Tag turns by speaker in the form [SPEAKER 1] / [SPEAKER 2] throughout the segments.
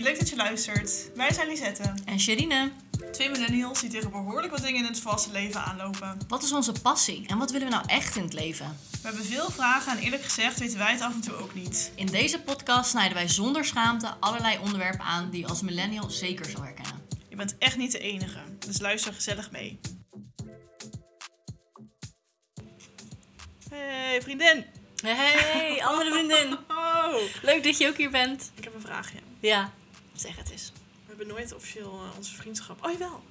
[SPEAKER 1] leuk dat je luistert. Wij zijn Lisette,
[SPEAKER 2] En Sherine,
[SPEAKER 1] twee millennials die tegen behoorlijk wat dingen in het vaste leven aanlopen.
[SPEAKER 2] wat is onze passie en wat willen we nou echt in het leven?
[SPEAKER 1] We hebben veel vragen en eerlijk gezegd weten wij het af en toe ook niet.
[SPEAKER 2] In deze podcast snijden wij zonder schaamte allerlei onderwerpen aan die je als millennial zeker zal herkennen.
[SPEAKER 1] Je bent echt niet de enige, dus luister gezellig mee. Hey vriendin!
[SPEAKER 2] Hey, andere vriendin.
[SPEAKER 1] Oh,
[SPEAKER 2] Leuk dat je ook hier bent.
[SPEAKER 1] ik heb een vraagje.
[SPEAKER 2] Ja, zeg het eens.
[SPEAKER 1] We hebben nooit officieel eh, onze vriendschap. Oh jawel.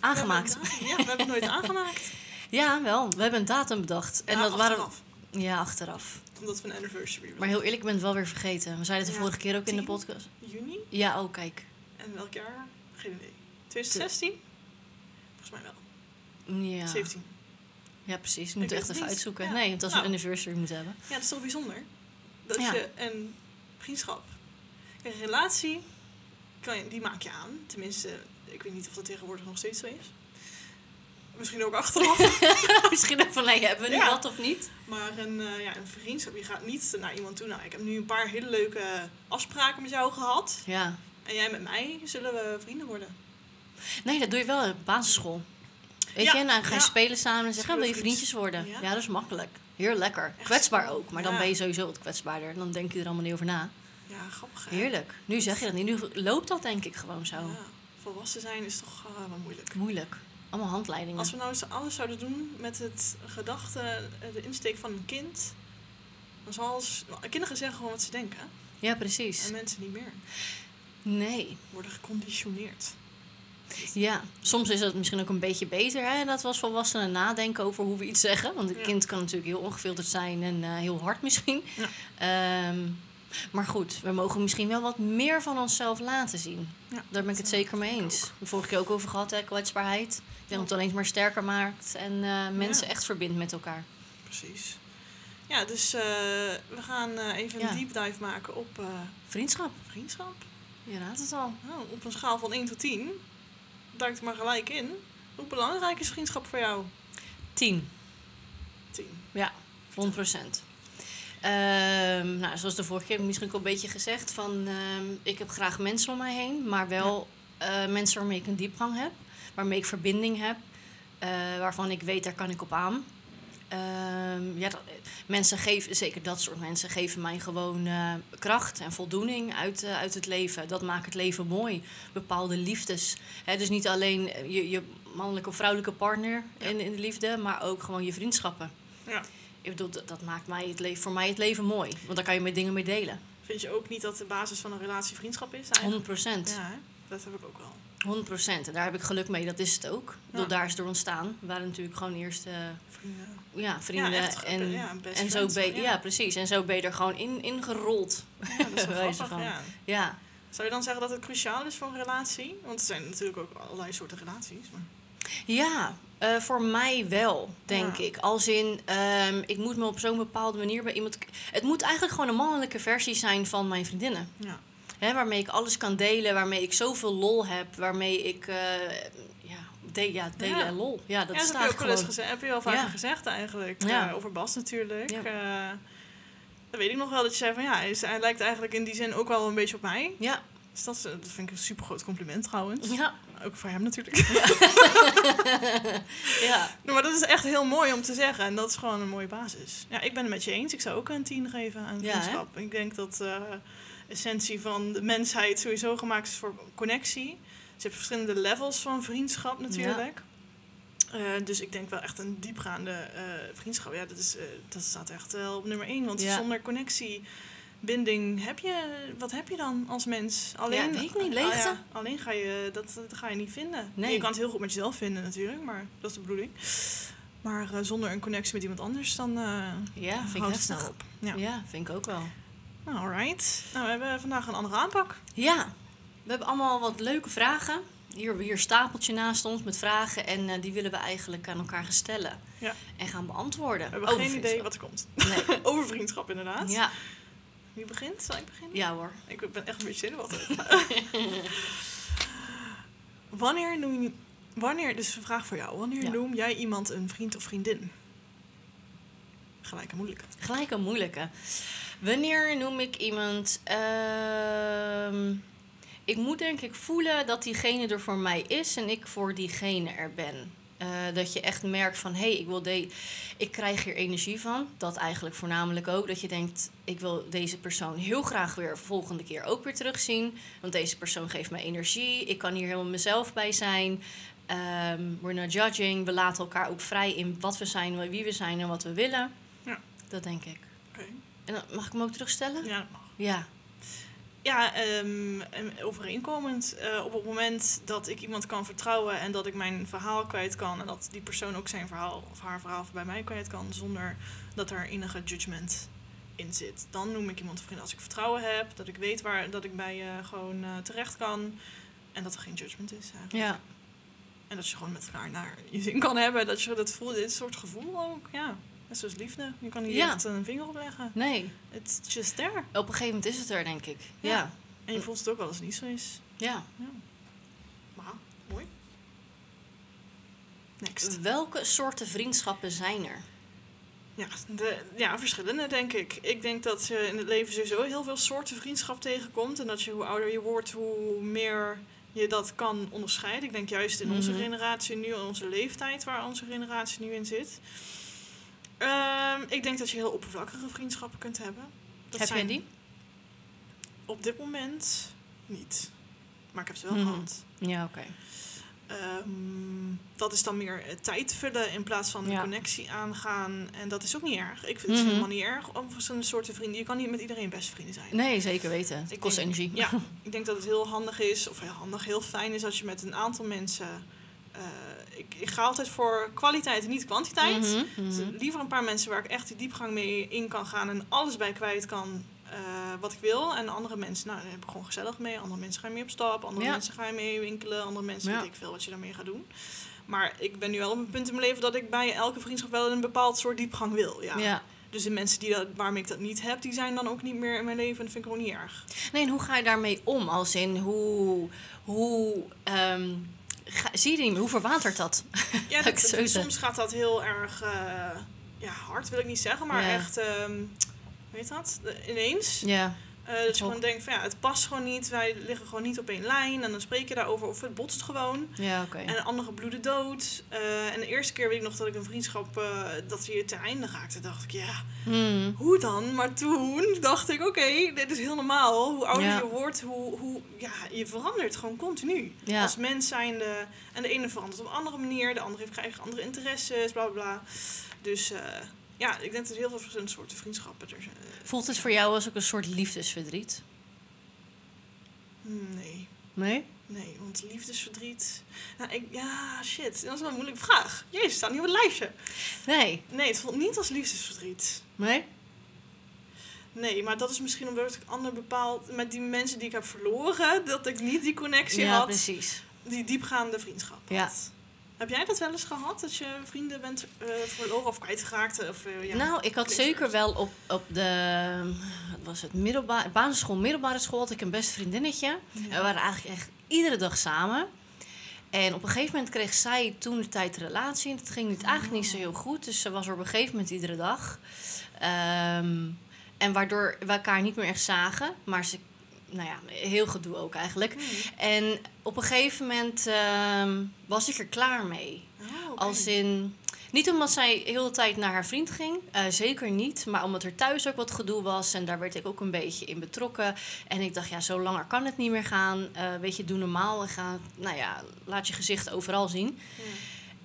[SPEAKER 2] Aangemaakt.
[SPEAKER 1] We hebben het- Ja, we hebben het nooit aangemaakt.
[SPEAKER 2] Ja, wel. We hebben een datum bedacht.
[SPEAKER 1] En dat waren
[SPEAKER 2] Ja, achteraf.
[SPEAKER 1] omdat we een anniversary
[SPEAKER 2] Maar
[SPEAKER 1] hebben.
[SPEAKER 2] heel eerlijk, ik ben het wel weer vergeten. We zeiden het de
[SPEAKER 1] Ja,
[SPEAKER 2] vorige keer ook in
[SPEAKER 1] tien.
[SPEAKER 2] de podcast.
[SPEAKER 1] Juni?
[SPEAKER 2] Ja, oh kijk.
[SPEAKER 1] En welk jaar? Geen idee. 2016? Volgens mij wel.
[SPEAKER 2] Ja,
[SPEAKER 1] 17.
[SPEAKER 2] ja precies. We
[SPEAKER 1] weet
[SPEAKER 2] moeten
[SPEAKER 1] het
[SPEAKER 2] echt even
[SPEAKER 1] niet.
[SPEAKER 2] uitzoeken.
[SPEAKER 1] Ja.
[SPEAKER 2] Nee, want als we
[SPEAKER 1] Nou.
[SPEAKER 2] een anniversary moeten hebben.
[SPEAKER 1] Ja, dat is toch bijzonder? Dat
[SPEAKER 2] Ja.
[SPEAKER 1] je een vriendschap, een relatie, kan je, die maak je aan. Tenminste, ik weet niet of dat tegenwoordig nog steeds zo is. Misschien ook achteraf.
[SPEAKER 2] Misschien ook van, nee, hebben we nu
[SPEAKER 1] Ja.
[SPEAKER 2] dat of niet?
[SPEAKER 1] maar een, eh, ja, een vriendschap, je gaat niet naar iemand toe. Nou, ik heb nu een paar hele leuke afspraken met jou gehad.
[SPEAKER 2] Ja.
[SPEAKER 1] En jij met mij zullen we vrienden worden.
[SPEAKER 2] Nee, dat doe je wel op basisschool. Weet
[SPEAKER 1] Ja,
[SPEAKER 2] je, en dan ga je
[SPEAKER 1] ja.
[SPEAKER 2] spelen samen en zeggen,
[SPEAKER 1] Zullen
[SPEAKER 2] "Ah,
[SPEAKER 1] we
[SPEAKER 2] wil je
[SPEAKER 1] vriendjes-
[SPEAKER 2] vriendjes worden? Ja.
[SPEAKER 1] Ja.
[SPEAKER 2] dat is makkelijk. Heel lekker.
[SPEAKER 1] Echt
[SPEAKER 2] Kwetsbaar
[SPEAKER 1] zo.
[SPEAKER 2] ook, maar dan
[SPEAKER 1] Ja.
[SPEAKER 2] ben je sowieso wat kwetsbaarder. Dan denk je er allemaal niet over na.
[SPEAKER 1] Ja, grappig. hè?
[SPEAKER 2] Heerlijk. Nu zeg je dat niet. Nu loopt dat denk ik gewoon zo.
[SPEAKER 1] Ja, volwassen zijn is toch eh, wel moeilijk.
[SPEAKER 2] Moeilijk. Allemaal handleidingen.
[SPEAKER 1] Als we nou eens alles zouden doen met het gedachte, eh, de insteek van een kind, dan zal als, kinderen zeggen gewoon wat ze denken.
[SPEAKER 2] Ja, precies.
[SPEAKER 1] En mensen niet meer
[SPEAKER 2] Nee.
[SPEAKER 1] worden geconditioneerd.
[SPEAKER 2] Ja, soms is dat misschien ook een beetje beter. Hè? Dat we als volwassenen nadenken over hoe we iets zeggen. Want een
[SPEAKER 1] Ja.
[SPEAKER 2] kind kan natuurlijk heel ongefilterd zijn en eh, heel hard misschien.
[SPEAKER 1] Ja.
[SPEAKER 2] Ehm, maar goed, we mogen misschien wel wat meer van onszelf laten zien.
[SPEAKER 1] Ja,
[SPEAKER 2] Daar ben ik het zeker mee eens. We hebben vorige keer ook over gehad, hè, kwetsbaarheid. Ik denk dat het alleen maar sterker maakt en eh, mensen echt verbindt met elkaar.
[SPEAKER 1] Precies. Ja, dus eh, we gaan eh, even
[SPEAKER 2] Ja.
[SPEAKER 1] een deep dive maken op eh,
[SPEAKER 2] Vriendschap,
[SPEAKER 1] vriendschap.
[SPEAKER 2] je raadt het al.
[SPEAKER 1] Nou, op een schaal van 1 tot 10, duik er maar gelijk in. Hoe belangrijk is vriendschap voor jou?
[SPEAKER 2] 10,
[SPEAKER 1] 10.
[SPEAKER 2] 100 procent. nou, zoals de vorige keer heb ik misschien ook al een beetje gezegd, van, ehm, ik heb graag mensen om mij heen, maar wel eh, mensen waarmee ik een diepgang heb, waarmee ik verbinding heb, eh, waarvan ik weet, daar kan ik op aan. Ehm, ja, dat- mensen geven, zeker dat soort mensen, geven mij gewoon eh, kracht en voldoening uit, eh, uit het leven. Dat maakt het leven mooi. Bepaalde liefdes. Hè, dus niet alleen eh, je, je mannelijke of vrouwelijke partner in, in de liefde, maar ook gewoon je vriendschappen.
[SPEAKER 1] Ja.
[SPEAKER 2] Ik bedoel, dat, dat maakt mij het leven, voor mij het leven mooi. Want daar kan je met dingen mee delen.
[SPEAKER 1] Vind je ook niet dat de basis van een relatie vriendschap is?
[SPEAKER 2] 100
[SPEAKER 1] Eigenlijk?
[SPEAKER 2] procent.
[SPEAKER 1] Ja, hè? dat heb ik ook wel.
[SPEAKER 2] 100 procent. En daar heb ik geluk mee, dat is het ook. Ik bedoel,
[SPEAKER 1] Ja.
[SPEAKER 2] daar is het door ontstaan. We waren natuurlijk gewoon eerst eh,
[SPEAKER 1] Vrienden.
[SPEAKER 2] ja, vrienden.
[SPEAKER 1] Ja, echt,
[SPEAKER 2] en
[SPEAKER 1] ja, best
[SPEAKER 2] en zo
[SPEAKER 1] friends,
[SPEAKER 2] ben, ja.
[SPEAKER 1] ja.
[SPEAKER 2] precies. En zo ben je er gewoon in, ingerold.
[SPEAKER 1] Ja, dat is wel
[SPEAKER 2] Wijze
[SPEAKER 1] grappig,
[SPEAKER 2] van.
[SPEAKER 1] ja.
[SPEAKER 2] Ja.
[SPEAKER 1] Zou je dan zeggen dat het cruciaal is voor een relatie? Want er zijn natuurlijk ook allerlei soorten relaties. Maar...
[SPEAKER 2] Ja, eh, voor mij wel, denk
[SPEAKER 1] Ja.
[SPEAKER 2] ik. Als in, ehm, ik moet me op zo'n bepaalde manier bij iemand... Het moet eigenlijk gewoon een mannelijke versie zijn van mijn vriendinnen.
[SPEAKER 1] Ja.
[SPEAKER 2] Hè, waarmee ik alles kan delen, waarmee ik zoveel lol heb, waarmee ik... eh, ja, de- ja, delen
[SPEAKER 1] Ja.
[SPEAKER 2] en lol. Ja,
[SPEAKER 1] Dat,
[SPEAKER 2] dat
[SPEAKER 1] ja, dat
[SPEAKER 2] staat
[SPEAKER 1] heb je ook wel eens
[SPEAKER 2] gewoon...
[SPEAKER 1] gezegd. Heb je al vaker
[SPEAKER 2] Ja.
[SPEAKER 1] gezegd eigenlijk.
[SPEAKER 2] Ja.
[SPEAKER 1] eh, over Bas natuurlijk.
[SPEAKER 2] Ja.
[SPEAKER 1] Eh, dat weet ik nog wel dat je zei van ja, hij, is- hij lijkt eigenlijk in die zin ook wel een beetje op mij.
[SPEAKER 2] Ja,
[SPEAKER 1] Dus dat, is- dat vind ik een super groot compliment trouwens.
[SPEAKER 2] ja,
[SPEAKER 1] Ook voor hem natuurlijk.
[SPEAKER 2] ja.
[SPEAKER 1] maar dat is echt heel mooi om te zeggen. En dat is gewoon een mooie basis. Ja, ik ben het met je eens. Ik zou ook een 10 geven aan
[SPEAKER 2] Ja, hè?
[SPEAKER 1] vriendschap. ik denk dat de essentie van de mensheid sowieso gemaakt is voor connectie. Dus je hebt verschillende levels van vriendschap natuurlijk. Eh, dus ik denk wel echt een diepgaande eh, vriendschap. Ja, dat, is, eh, dat staat echt wel op nummer één. Want
[SPEAKER 2] Ja.
[SPEAKER 1] zonder connectie, binding, heb je, wat heb je dan als mens? Alleen,
[SPEAKER 2] weet ik niet,
[SPEAKER 1] Ah, ja,
[SPEAKER 2] leegte.
[SPEAKER 1] alleen ga je dat, dat ga je niet vinden.
[SPEAKER 2] Nee.
[SPEAKER 1] Je kan het heel goed met jezelf vinden natuurlijk, maar dat is de bedoeling. Maar eh, zonder een connectie met iemand anders, dan eh
[SPEAKER 2] Ja, vind ik
[SPEAKER 1] houdt het
[SPEAKER 2] heftig.
[SPEAKER 1] snel op. Ja.
[SPEAKER 2] ja, vind ik ook wel.
[SPEAKER 1] Nou, alright. Nou, we hebben vandaag een andere aanpak.
[SPEAKER 2] Ja, we hebben allemaal wat leuke vragen. Hier hebben we hier een stapeltje naast ons met vragen en eh, die willen we eigenlijk aan elkaar gaan stellen.
[SPEAKER 1] Ja.
[SPEAKER 2] En gaan beantwoorden.
[SPEAKER 1] We hebben
[SPEAKER 2] Over
[SPEAKER 1] geen idee
[SPEAKER 2] vriendschap.
[SPEAKER 1] wat er komt.
[SPEAKER 2] Nee.
[SPEAKER 1] Over vriendschap inderdaad.
[SPEAKER 2] Ja,
[SPEAKER 1] Wie begint? Zal ik beginnen?
[SPEAKER 2] ja hoor.
[SPEAKER 1] Ik ben echt een beetje zenuwachtig. wanneer noem je... Wanneer, dus een vraag voor jou. Wanneer
[SPEAKER 2] Ja.
[SPEAKER 1] noem jij iemand een vriend of vriendin? Gelijk en moeilijk.
[SPEAKER 2] Gelijk een moeilijke. Wanneer noem ik iemand... ehm, ik moet denk ik voelen dat diegene er voor mij is en ik voor diegene er ben. Eh, dat je echt merkt van hé, hey, ik, wil de- ik krijg hier energie van. Dat eigenlijk voornamelijk ook. Dat je denkt, ik wil deze persoon heel graag weer volgende keer ook weer terugzien. Want deze persoon geeft mij energie. Ik kan hier helemaal mezelf bij zijn. Ehm, we're not judging. We laten elkaar ook vrij in wat we zijn, wie we zijn en wat we willen.
[SPEAKER 1] Ja.
[SPEAKER 2] Dat denk ik.
[SPEAKER 1] Oké.
[SPEAKER 2] En dan, mag ik hem ook terugstellen?
[SPEAKER 1] Ja, dat mag.
[SPEAKER 2] Ja.
[SPEAKER 1] Ja, ehm, en overeenkomend. eh, op het moment dat ik iemand kan vertrouwen en dat ik mijn verhaal kwijt kan. En dat die persoon ook zijn verhaal of haar verhaal bij mij kwijt kan. Zonder dat er enige judgment in zit. Dan noem ik iemand vriend als ik vertrouwen heb. Dat ik weet waar dat ik bij je gewoon eh, terecht kan. En dat er geen judgment is eigenlijk.
[SPEAKER 2] ja.
[SPEAKER 1] En dat je gewoon met elkaar naar je zin kan hebben. Dat je dat voelt. Dit soort gevoel ook. Ja, net zoals liefde. Je kan niet
[SPEAKER 2] Ja.
[SPEAKER 1] echt een vinger op leggen.
[SPEAKER 2] Nee.
[SPEAKER 1] It's just there.
[SPEAKER 2] Op een gegeven moment is het er, denk ik.
[SPEAKER 1] Ja.
[SPEAKER 2] Ja.
[SPEAKER 1] En je voelt het ook wel als het niet zo is.
[SPEAKER 2] ja.
[SPEAKER 1] Maar, mooi. Next.
[SPEAKER 2] Welke soorten vriendschappen zijn er?
[SPEAKER 1] Ja, de, ja, verschillende denk ik. Ik denk dat je in het leven sowieso heel veel soorten vriendschap tegenkomt. En dat je hoe ouder je wordt, hoe meer je dat kan onderscheiden. Ik denk juist in onze
[SPEAKER 2] Mhm.
[SPEAKER 1] generatie nu, in onze leeftijd waar onze generatie nu in zit. Ehm, ik denk dat je heel oppervlakkige vriendschappen kunt hebben. Dat
[SPEAKER 2] Heb jij
[SPEAKER 1] zijn
[SPEAKER 2] die?
[SPEAKER 1] Op dit moment niet. Maar ik heb ze wel
[SPEAKER 2] Mhm.
[SPEAKER 1] gehad.
[SPEAKER 2] Ja, oké.
[SPEAKER 1] Ehm, dat is dan meer eh, tijd vullen in plaats van
[SPEAKER 2] Ja.
[SPEAKER 1] een connectie aangaan. En dat is ook niet erg. Ik vind het
[SPEAKER 2] Mhm.
[SPEAKER 1] helemaal niet erg om verschillende soorten vrienden. Je kan niet met iedereen best vrienden zijn.
[SPEAKER 2] Nee, zeker weten. Het
[SPEAKER 1] Ik
[SPEAKER 2] kost
[SPEAKER 1] denk-
[SPEAKER 2] energie.
[SPEAKER 1] Ja, ik denk dat het heel handig is, of heel handig, heel fijn is als je met een aantal mensen. eh, ik, ik ga altijd voor kwaliteit en niet kwantiteit.
[SPEAKER 2] Mhm, mhm.
[SPEAKER 1] Dus liever een paar mensen waar ik echt die diepgang mee in kan gaan en alles bij kwijt kan eh, wat ik wil. En andere mensen, nou, daar heb ik gewoon gezellig mee. Andere mensen ga je mee op stap, andere
[SPEAKER 2] Ja.
[SPEAKER 1] mensen ga je mee winkelen, andere mensen
[SPEAKER 2] Ja.
[SPEAKER 1] weet ik veel wat je daarmee gaat doen. Maar ik ben nu wel op een punt in mijn leven dat ik bij elke vriendschap wel een bepaald soort diepgang wil. Ja.
[SPEAKER 2] ja.
[SPEAKER 1] Dus de mensen die dat, waarmee ik dat niet heb, die zijn dan ook niet meer in mijn leven. En dat vind ik ook niet erg.
[SPEAKER 2] Nee, en hoe ga je daarmee om? Als in hoe. hoe ehm, ga- zie je die, hoe verwatert dat?
[SPEAKER 1] Ja,
[SPEAKER 2] Laat
[SPEAKER 1] dat-
[SPEAKER 2] ik het zo
[SPEAKER 1] soms gaat dat heel erg eh, ja, hard, wil ik niet zeggen, maar
[SPEAKER 2] Ja.
[SPEAKER 1] echt, ehm, hoe heet dat? De- Ineens.
[SPEAKER 2] Ja.
[SPEAKER 1] Eh, dat je
[SPEAKER 2] Ook.
[SPEAKER 1] gewoon denkt van ja, het past gewoon niet. Wij liggen gewoon niet op één lijn. En dan spreek je daarover of het botst gewoon.
[SPEAKER 2] Ja, oké.
[SPEAKER 1] En de andere bloeden dood. Eh, en de eerste keer weet ik nog dat ik een vriendschap, eh, dat die ten einde raakte. dacht ik ja,
[SPEAKER 2] Hmm.
[SPEAKER 1] hoe dan? Maar toen dacht ik oké, dit is heel normaal. Hoe ouder
[SPEAKER 2] Ja.
[SPEAKER 1] je wordt, hoe, hoe, ja, je verandert gewoon continu.
[SPEAKER 2] Ja.
[SPEAKER 1] Als mens zijnde. En de ene verandert op een andere manier. De andere heeft krijgt andere interesses, bla bla bla. Dus eh, ja, ik denk dat er heel veel verschillende soorten vriendschappen er zijn. Eh,
[SPEAKER 2] Voelt het voor jou als ook een soort liefdesverdriet?
[SPEAKER 1] hmm, Nee.
[SPEAKER 2] Nee?
[SPEAKER 1] Nee, want liefdesverdriet. Nou, ik, ja, shit. Dat is wel een moeilijke vraag. Jezus, staat niet op het lijstje.
[SPEAKER 2] Nee.
[SPEAKER 1] Nee, het voelt niet als liefdesverdriet.
[SPEAKER 2] Nee?
[SPEAKER 1] Nee, maar dat is misschien omdat ik ander bepaald met die mensen die ik heb verloren, dat ik niet die connectie
[SPEAKER 2] ja,
[SPEAKER 1] had,
[SPEAKER 2] precies.
[SPEAKER 1] die diepgaande vriendschap
[SPEAKER 2] Ja.
[SPEAKER 1] had. Heb jij dat wel eens gehad, dat je vrienden bent eh, verloren of kwijtgeraakt? Of, eh, ja.
[SPEAKER 2] Nou, ik had
[SPEAKER 1] Klinkt
[SPEAKER 2] zeker
[SPEAKER 1] zo.
[SPEAKER 2] wel op, op de wat was het, middelba basisschool, middelbare school had ik een best vriendinnetje.
[SPEAKER 1] Ja.
[SPEAKER 2] We waren eigenlijk echt iedere dag samen. En op een gegeven moment kreeg zij toen de tijd een relatie. En dat ging niet, eigenlijk
[SPEAKER 1] Oh.
[SPEAKER 2] niet zo heel goed. Dus ze was er op een gegeven moment iedere dag. Ehm, en waardoor we elkaar niet meer echt zagen. Maar ze, nou ja, heel gedoe ook eigenlijk.
[SPEAKER 1] Hmm.
[SPEAKER 2] En op een gegeven moment ehm, was ik er klaar mee.
[SPEAKER 1] Oh, oké.
[SPEAKER 2] Als in. Niet omdat zij heel de tijd naar haar vriend ging, eh, zeker niet. Maar omdat er thuis ook wat gedoe was en daar werd ik ook een beetje in betrokken. En ik dacht, ja, zo langer kan het niet meer gaan. Eh, weet je, doe normaal en ga, nou ja, laat je gezicht overal zien.
[SPEAKER 1] Ja.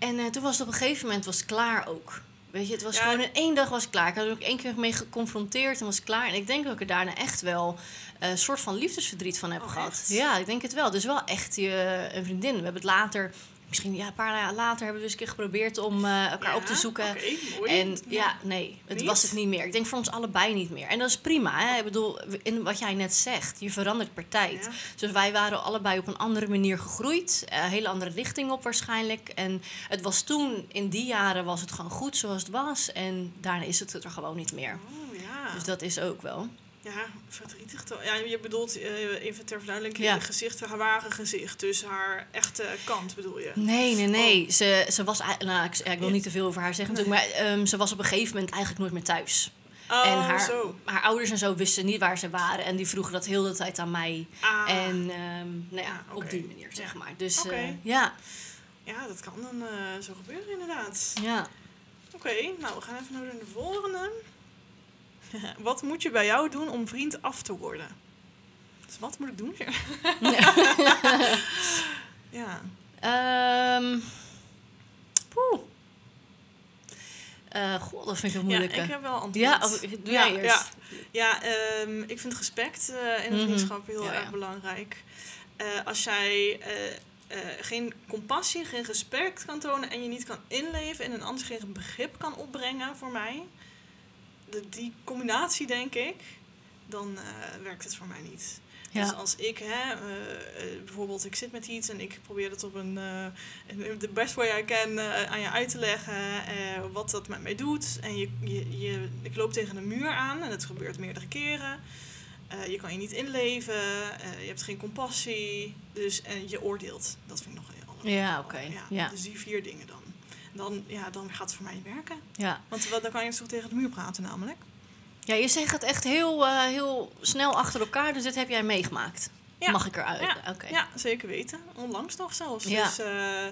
[SPEAKER 2] En eh, toen was het op een gegeven moment was het klaar ook. Weet je, het was
[SPEAKER 1] Ja.
[SPEAKER 2] gewoon in één dag was het klaar. Ik had er ook één keer mee geconfronteerd en was het klaar. En ik denk dat ik er daarna echt wel eh, een soort van liefdesverdriet van heb
[SPEAKER 1] Oh,
[SPEAKER 2] gehad.
[SPEAKER 1] echt?
[SPEAKER 2] Ja, ik denk het wel. Dus wel echt eh, een vriendin. We hebben het later, misschien ja, een paar jaar later, hebben we dus een keer geprobeerd om eh, elkaar op te
[SPEAKER 1] Ja,
[SPEAKER 2] zoeken.
[SPEAKER 1] Oké, mooi.
[SPEAKER 2] En ja, nee, het
[SPEAKER 1] Niet?
[SPEAKER 2] was het niet meer. Ik denk voor ons allebei niet meer. En dat is prima. Hè? Ik bedoel, in wat jij net zegt, je verandert per tijd.
[SPEAKER 1] Ja.
[SPEAKER 2] Dus wij waren allebei op een andere manier gegroeid. eh, Een hele andere richting op waarschijnlijk. En het was toen, in die jaren, was het gewoon goed zoals het was. En daarna is het er gewoon niet meer.
[SPEAKER 1] Oh, ja.
[SPEAKER 2] Dus dat is ook wel.
[SPEAKER 1] Ja, verdrietig toch? Ja, je bedoelt, eh, even ter verduidelijking,
[SPEAKER 2] Ja.
[SPEAKER 1] je gezicht, haar ware gezicht. Dus haar echte kant bedoel je?
[SPEAKER 2] Nee, nee, nee. Oh. Ze, ze was... ei- Nou, ik, ik wil
[SPEAKER 1] Ja.
[SPEAKER 2] niet te veel over haar zeggen natuurlijk. Maar ehm, ze was op een gegeven moment eigenlijk nooit meer thuis.
[SPEAKER 1] Oh,
[SPEAKER 2] en haar,
[SPEAKER 1] zo.
[SPEAKER 2] haar ouders en zo wisten niet waar ze waren. En die vroegen dat heel de tijd aan mij.
[SPEAKER 1] Ah,
[SPEAKER 2] En ehm, nou ja,
[SPEAKER 1] Ah,
[SPEAKER 2] op
[SPEAKER 1] oké.
[SPEAKER 2] die manier, zeg
[SPEAKER 1] Ja.
[SPEAKER 2] maar. Dus eh,
[SPEAKER 1] Oké.
[SPEAKER 2] ja,
[SPEAKER 1] Ja, dat kan dan eh, zo gebeuren inderdaad.
[SPEAKER 2] ja.
[SPEAKER 1] Oké, nou we gaan even naar de volgende. wat moet je bij jou doen om vriend af te worden? Dus wat moet ik doen hier? ja.
[SPEAKER 2] Ehm poeh. Eh, goh, dat vind ik een moeilijke.
[SPEAKER 1] Ja, ik heb wel antwoord.
[SPEAKER 2] Ja, of- doe
[SPEAKER 1] Ja,
[SPEAKER 2] jij eerst.
[SPEAKER 1] Ja, ehm, ik vind respect eh, in het
[SPEAKER 2] Mhm.
[SPEAKER 1] vriendschap heel
[SPEAKER 2] Ja,
[SPEAKER 1] erg
[SPEAKER 2] ja.
[SPEAKER 1] belangrijk. Eh, als jij eh, eh, geen compassie, geen respect kan tonen en je niet kan inleven en een ander geen begrip kan opbrengen voor mij, de, die combinatie denk ik, dan eh, werkt het voor mij niet.
[SPEAKER 2] Ja.
[SPEAKER 1] Dus als ik, hè, eh, eh, bijvoorbeeld, ik zit met iets en ik probeer het op een, eh, een- de best way I can eh, aan je uit te leggen, eh, wat dat met mij doet. En je, je, je, ik loop tegen een muur aan en het gebeurt meerdere keren. Eh, je kan je niet inleven, eh, je hebt geen compassie, dus, en je oordeelt. Dat vind ik nog heel
[SPEAKER 2] Ja, oké, ja.
[SPEAKER 1] Dus die vier dingen dan. Dan, ja, dan gaat het voor mij niet werken.
[SPEAKER 2] ja.
[SPEAKER 1] Want wel, dan kan je dus toch tegen de muur praten namelijk.
[SPEAKER 2] ja, je zegt het echt heel, eh, heel snel achter elkaar, dus dit heb jij meegemaakt.
[SPEAKER 1] Ja.
[SPEAKER 2] Mag ik eruit?
[SPEAKER 1] Ja.
[SPEAKER 2] Oké.
[SPEAKER 1] Ja, zeker weten. Onlangs nog zelfs.
[SPEAKER 2] Ja.
[SPEAKER 1] Dus, eh, eh,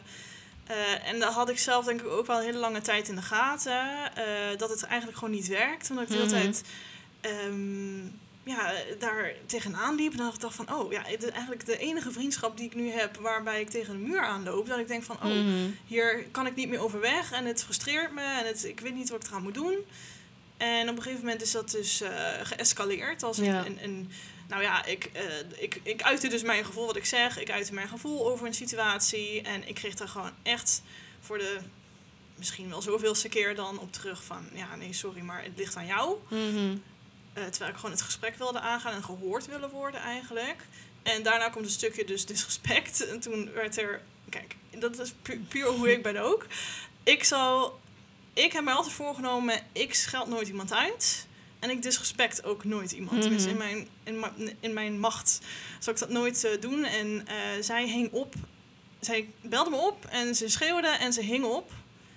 [SPEAKER 1] en dat had ik zelf denk ik ook wel een hele lange tijd in de gaten. eh, dat het eigenlijk gewoon niet werkt. Omdat ik de hele
[SPEAKER 2] Mhm.
[SPEAKER 1] tijd ehm, ja, daar tegenaan liep. En dan dacht ik van, oh ja, het is eigenlijk de enige vriendschap die ik nu heb... waarbij ik tegen een muur aanloop. Dat ik denk van, oh,
[SPEAKER 2] Mhm.
[SPEAKER 1] hier kan ik niet meer overweg en het frustreert me en het, ik weet niet wat ik eraan moet doen. En op een gegeven moment is dat dus eh, geëscaleerd. Als een,
[SPEAKER 2] Ja.
[SPEAKER 1] een, een- nou ja, ik, eh, ik, ik uitte dus mijn gevoel wat ik zeg. Ik uitte mijn gevoel over een situatie. En ik kreeg daar gewoon echt voor de misschien wel zoveelste keer dan op terug van... Ja, nee, sorry, maar het ligt aan jou.
[SPEAKER 2] Mhm.
[SPEAKER 1] Eh, terwijl ik gewoon het gesprek wilde aangaan en gehoord willen worden eigenlijk. En daarna komt een stukje dus disrespect. En toen werd er... Kijk, dat is pu- puur hoe ik ben ook. Ik zal... Ik heb mij altijd voorgenomen, ik scheld nooit iemand uit. En ik disrespect ook nooit iemand.
[SPEAKER 2] Mhm.
[SPEAKER 1] Tenminste, in mijn, in, ma- in mijn macht zal ik dat nooit eh, doen. En eh, zij hing op. Zij belde me op en ze schreeuwde en ze hing op.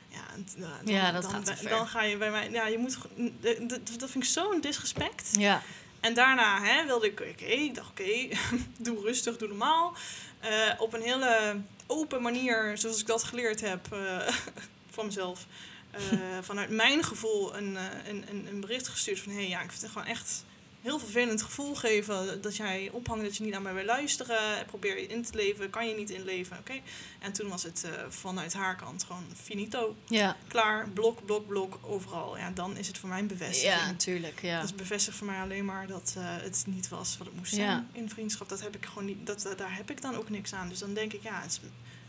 [SPEAKER 1] Ja, en t- nou, dan,
[SPEAKER 2] Ja, dat
[SPEAKER 1] dan,
[SPEAKER 2] gaat te
[SPEAKER 1] ben-
[SPEAKER 2] ver.
[SPEAKER 1] dan ga je bij mij... Ja, je moet, ge- n- de- de- dat vind ik zo'n disrespect.
[SPEAKER 2] Ja.
[SPEAKER 1] En daarna hè, wilde ik, oké, ik dacht oké, doe rustig, doe normaal. Eh, op een hele open manier, zoals ik dat geleerd heb eh, van mezelf, eh, vanuit mijn gevoel een, eh, een, een, een bericht gestuurd van hé, hey, ja, ik vind het gewoon echt heel vervelend gevoel geven dat jij ophangt, dat je niet aan mij wil luisteren, probeer je in te leven, kan je niet inleven, oké. En toen was het eh, vanuit haar kant gewoon finito,
[SPEAKER 2] Ja.
[SPEAKER 1] klaar, blok, blok, blok, overal. Ja, dan is het voor mij een bevestiging.
[SPEAKER 2] ja, natuurlijk. Ja.
[SPEAKER 1] Dat bevestigt voor mij alleen maar dat eh, het niet was wat het moest zijn
[SPEAKER 2] Ja.
[SPEAKER 1] in vriendschap. Dat heb ik gewoon niet, dat, dat- daar heb ik dan ook niks aan. Dus dan denk ik, ja, het is-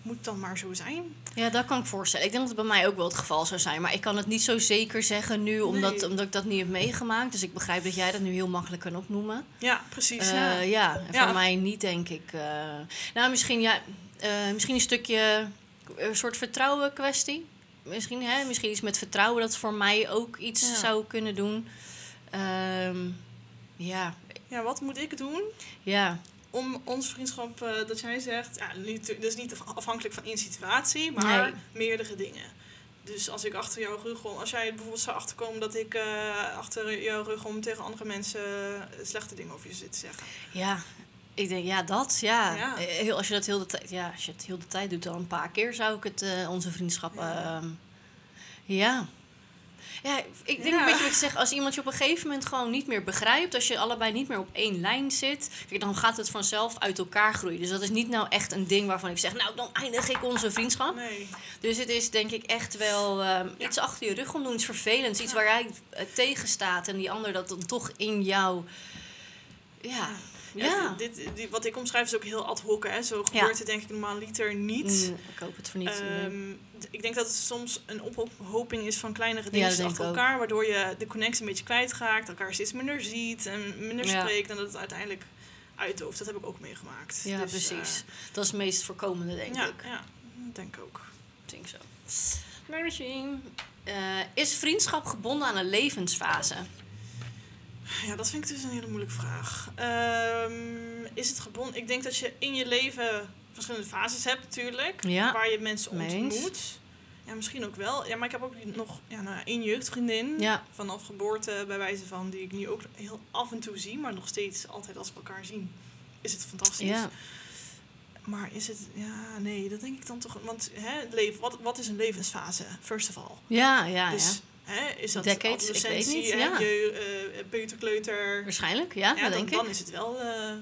[SPEAKER 1] moet dan maar zo zijn.
[SPEAKER 2] ja, dat kan ik voorstellen. Ik denk dat het bij mij ook wel het geval zou zijn. Maar ik kan het niet zo zeker zeggen nu, omdat,
[SPEAKER 1] Nee.
[SPEAKER 2] omdat ik dat niet heb meegemaakt. Dus ik begrijp dat jij dat nu heel makkelijk kan opnoemen.
[SPEAKER 1] Ja, precies. ja.
[SPEAKER 2] Eh, ja, en
[SPEAKER 1] Ja.
[SPEAKER 2] voor mij niet, denk ik. eh. nou, misschien, ja, eh, misschien een stukje een soort vertrouwen kwestie. Misschien, hè, misschien iets met vertrouwen dat voor mij ook iets
[SPEAKER 1] Ja.
[SPEAKER 2] zou kunnen doen. Ehm, ja,
[SPEAKER 1] ja, wat moet ik doen
[SPEAKER 2] ja.
[SPEAKER 1] om ons vriendschap, eh, dat jij zegt, ja, niet, dat is niet af- afhankelijk van één situatie, maar
[SPEAKER 2] Nee.
[SPEAKER 1] meerdere dingen. Dus als ik achter jouw rug om, als jij bijvoorbeeld zou achterkomen dat ik eh, achter jouw rug om tegen andere mensen eh, slechte dingen over je zit te zeggen.
[SPEAKER 2] Ja, ik denk, ja, dat, ja.
[SPEAKER 1] Ja.
[SPEAKER 2] Eh, Heel, als je dat heel de tijd, ja, als je het heel de tijd doet, dan een paar keer zou ik het, eh, onze vriendschap,
[SPEAKER 1] Ja.
[SPEAKER 2] ja. ja. Ja, ik denk
[SPEAKER 1] Ja.
[SPEAKER 2] een beetje wat je zegt, als iemand je op een gegeven moment gewoon niet meer begrijpt, als je allebei niet meer op één lijn zit, kijk, dan gaat het vanzelf uit elkaar groeien. Dus dat is niet nou echt een ding waarvan ik zeg, nou, dan eindig ik onze vriendschap.
[SPEAKER 1] Nee.
[SPEAKER 2] Dus het is denk ik echt wel ehm, iets achter je rug om doen, iets vervelends, iets waar jij eh, tegen staat en die ander dat dan toch in jou, ja.
[SPEAKER 1] Ja.
[SPEAKER 2] Ja.
[SPEAKER 1] dit, dit- die- wat ik omschrijf is ook heel ad hoc. Hè. Zo
[SPEAKER 2] Ja.
[SPEAKER 1] gebeurt het denk ik normaal liter niet.
[SPEAKER 2] Mm, ik hoop het voor niet. nee.
[SPEAKER 1] Ehm, d- ik denk dat het soms een ophoping is van kleinere
[SPEAKER 2] Ja,
[SPEAKER 1] dingetjes
[SPEAKER 2] dat denk
[SPEAKER 1] achter
[SPEAKER 2] ik ook.
[SPEAKER 1] elkaar. Waardoor je de connectie een beetje kwijtraakt. Elkaar steeds minder ziet en minder
[SPEAKER 2] Ja.
[SPEAKER 1] spreekt. En dat het uiteindelijk uitdooft. Dat heb ik ook meegemaakt.
[SPEAKER 2] ja,
[SPEAKER 1] Dus,
[SPEAKER 2] precies. dat is het meest voorkomende,
[SPEAKER 1] eh,
[SPEAKER 2] denk
[SPEAKER 1] ja,
[SPEAKER 2] ik.
[SPEAKER 1] ja, denk ik ook.
[SPEAKER 2] Ik denk zo. Nourishing. Eh, is vriendschap gebonden aan een levensfase?
[SPEAKER 1] Ja, dat vind ik dus een hele moeilijke vraag. Ehm, is het gebonden? Ik denk dat je in je leven verschillende fases hebt natuurlijk.
[SPEAKER 2] Ja.
[SPEAKER 1] Waar je mensen
[SPEAKER 2] mee eens.
[SPEAKER 1] ontmoet. Ja, misschien ook wel. Ja, maar ik heb ook die- nog ja, nou, ja, één jeugdvriendin.
[SPEAKER 2] Ja.
[SPEAKER 1] Vanaf geboorte, bij wijze van, die ik nu ook heel af en toe zie. Maar nog steeds, altijd als we elkaar zien, is het fantastisch.
[SPEAKER 2] Ja.
[SPEAKER 1] Maar is het... Ja, nee, dat denk ik dan toch... Want hè, het leven, wat, wat is een levensfase, first of all?
[SPEAKER 2] Ja, ja, Ah, ja.
[SPEAKER 1] dus, hè, is dat
[SPEAKER 2] Decades, ik weet
[SPEAKER 1] adolescentie,
[SPEAKER 2] niet,
[SPEAKER 1] hè,
[SPEAKER 2] ja.
[SPEAKER 1] je, eh, peuterkleuter?
[SPEAKER 2] Waarschijnlijk, ja,
[SPEAKER 1] Ja,
[SPEAKER 2] dat
[SPEAKER 1] dan,
[SPEAKER 2] denk ik.
[SPEAKER 1] dan is het wel... eh,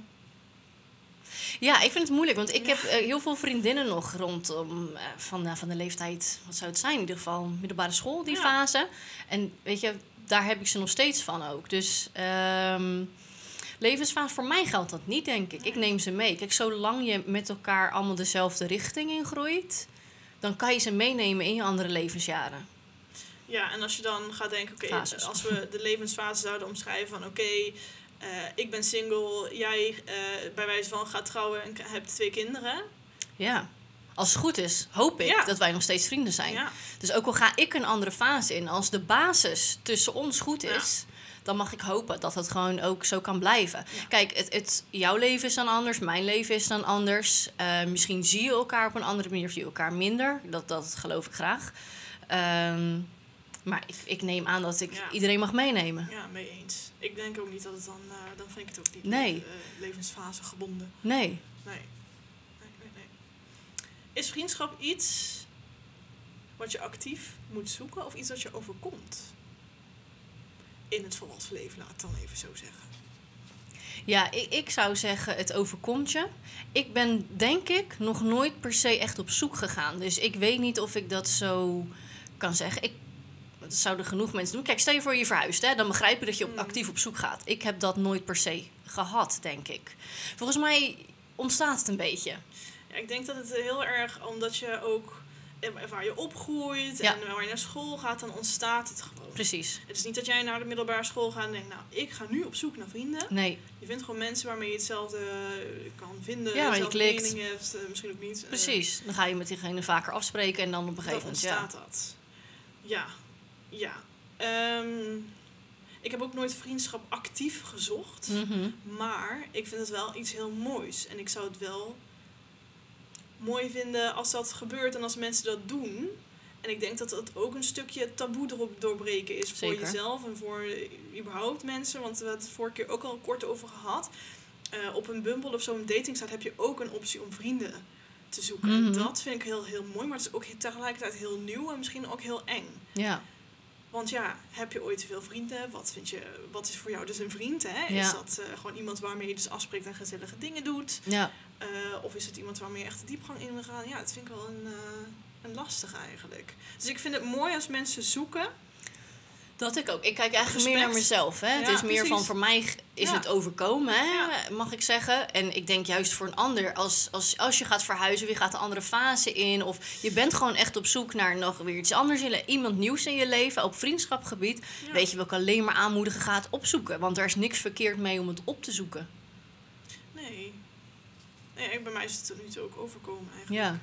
[SPEAKER 2] Ja, ik vind het moeilijk, want ik heb eh, heel veel vriendinnen nog rondom eh, van, eh, van de leeftijd, wat zou het zijn in ieder geval, middelbare school, die
[SPEAKER 1] Ja.
[SPEAKER 2] fase. En weet je, daar heb ik ze nog steeds van ook. Dus ehm, levensfase, voor mij geldt dat niet, denk ik. Ik neem ze mee. Kijk, zolang je met elkaar allemaal dezelfde richting in groeit, dan kan je ze meenemen in je andere levensjaren.
[SPEAKER 1] Ja, en als je dan gaat denken, oké, eh,
[SPEAKER 2] Fases.
[SPEAKER 1] als we de levensfase zouden omschrijven van oké, eh, ik ben single, jij eh, bij wijze van gaat trouwen en k- hebt twee kinderen.
[SPEAKER 2] Ja. Als het goed is, hoop ik
[SPEAKER 1] Ja.
[SPEAKER 2] dat wij nog steeds vrienden zijn.
[SPEAKER 1] Ja,
[SPEAKER 2] Dus ook al ga ik een andere fase in, als de basis tussen ons goed is, dan mag ik hopen dat het gewoon ook zo kan blijven.
[SPEAKER 1] Ja.
[SPEAKER 2] Kijk, het, het, jouw leven is dan anders, mijn leven is dan anders. Eh, misschien zie je elkaar op een andere manier of zie je elkaar minder. Dat, dat geloof ik graag. Ehm, maar ik, ik neem aan dat ik
[SPEAKER 1] Ja.
[SPEAKER 2] iedereen mag meenemen.
[SPEAKER 1] ja, mee eens. Ik denk ook niet dat het dan, eh, dan vind ik het ook niet
[SPEAKER 2] Nee.
[SPEAKER 1] eh, levensfase gebonden.
[SPEAKER 2] Nee.
[SPEAKER 1] Nee. nee, nee, nee. Is vriendschap iets wat je actief moet zoeken of iets dat je overkomt? In het volwassen leven, laat ik dan even zo zeggen.
[SPEAKER 2] Ja, ik, ik zou zeggen, het overkomt je. Ik ben denk ik nog nooit per se echt op zoek gegaan. Dus ik weet niet of ik dat zo kan zeggen. Ik, dat zouden genoeg mensen doen. Kijk, stel je voor je verhuist, hè, dan begrijp je dat je op,
[SPEAKER 1] Mm.
[SPEAKER 2] actief op zoek gaat. Ik heb dat nooit per se gehad, denk ik. Volgens mij ontstaat het een beetje.
[SPEAKER 1] Ja, ik denk dat het heel erg omdat je ook eh, waar je opgroeit
[SPEAKER 2] Ja.
[SPEAKER 1] en waar je naar school gaat, dan ontstaat het gewoon.
[SPEAKER 2] Precies.
[SPEAKER 1] Het is niet dat jij naar de middelbare school gaat en denkt, nou, ik ga nu op zoek naar vrienden.
[SPEAKER 2] Nee,
[SPEAKER 1] Je vindt gewoon mensen waarmee je hetzelfde eh, kan vinden,
[SPEAKER 2] Ja, waar je
[SPEAKER 1] dezelfde
[SPEAKER 2] klikt.
[SPEAKER 1] meningen hebt, eh, misschien ook niet. eh,
[SPEAKER 2] precies. Dan ga je met diegene vaker afspreken en dan op een
[SPEAKER 1] dan
[SPEAKER 2] gegeven moment. Ja.
[SPEAKER 1] ontstaat dat. Ja, ja. Ehm, ik heb ook nooit vriendschap actief gezocht,
[SPEAKER 2] Mhm.
[SPEAKER 1] maar ik vind het wel iets heel moois. En ik zou het wel mooi vinden als dat gebeurt en als mensen dat doen. En ik denk dat dat ook een stukje taboe erop doorbreken is voor
[SPEAKER 2] Zeker.
[SPEAKER 1] jezelf en voor eh, überhaupt mensen. Want we hebben het vorige keer ook al kort over gehad. Eh, op een Bumble of zo'n datingsite heb je ook een optie om vrienden te zoeken. En
[SPEAKER 2] Mhm.
[SPEAKER 1] dat vind ik heel, heel mooi, maar het is ook he- tegelijkertijd heel nieuw en misschien ook heel eng.
[SPEAKER 2] ja.
[SPEAKER 1] Want ja, heb je ooit te veel vrienden? Wat, vind je, wat is voor jou dus een vriend? Hè? Is
[SPEAKER 2] Ja.
[SPEAKER 1] dat eh, gewoon iemand waarmee je dus afspreekt en gezellige dingen doet?
[SPEAKER 2] ja.
[SPEAKER 1] Eh, of is het iemand waarmee je echt de diepgang in wil gaan? Ja, dat vind ik wel een, eh, een lastige eigenlijk. Dus ik vind het mooi als mensen zoeken.
[SPEAKER 2] Dat ik ook. Ik kijk eigenlijk meer naar
[SPEAKER 1] Respect.
[SPEAKER 2] mezelf. Hè? het
[SPEAKER 1] Ja,
[SPEAKER 2] is meer van
[SPEAKER 1] precies.
[SPEAKER 2] voor mij g- is
[SPEAKER 1] Ja.
[SPEAKER 2] het overkomen, hè?
[SPEAKER 1] Ja.
[SPEAKER 2] mag ik zeggen. En ik denk juist voor een ander, als, als, als je gaat verhuizen, weer gaat de andere fase in. Of je bent gewoon echt op zoek naar nog weer iets anders, in, le- iemand nieuws in je leven, op vriendschapgebied.
[SPEAKER 1] Ja.
[SPEAKER 2] Weet je, wil ik alleen maar aanmoedigen, ga het opzoeken. Want er is niks verkeerd mee om het op te zoeken.
[SPEAKER 1] Nee. nee ik- bij mij is het tot nu toe ook overkomen eigenlijk.
[SPEAKER 2] Ja,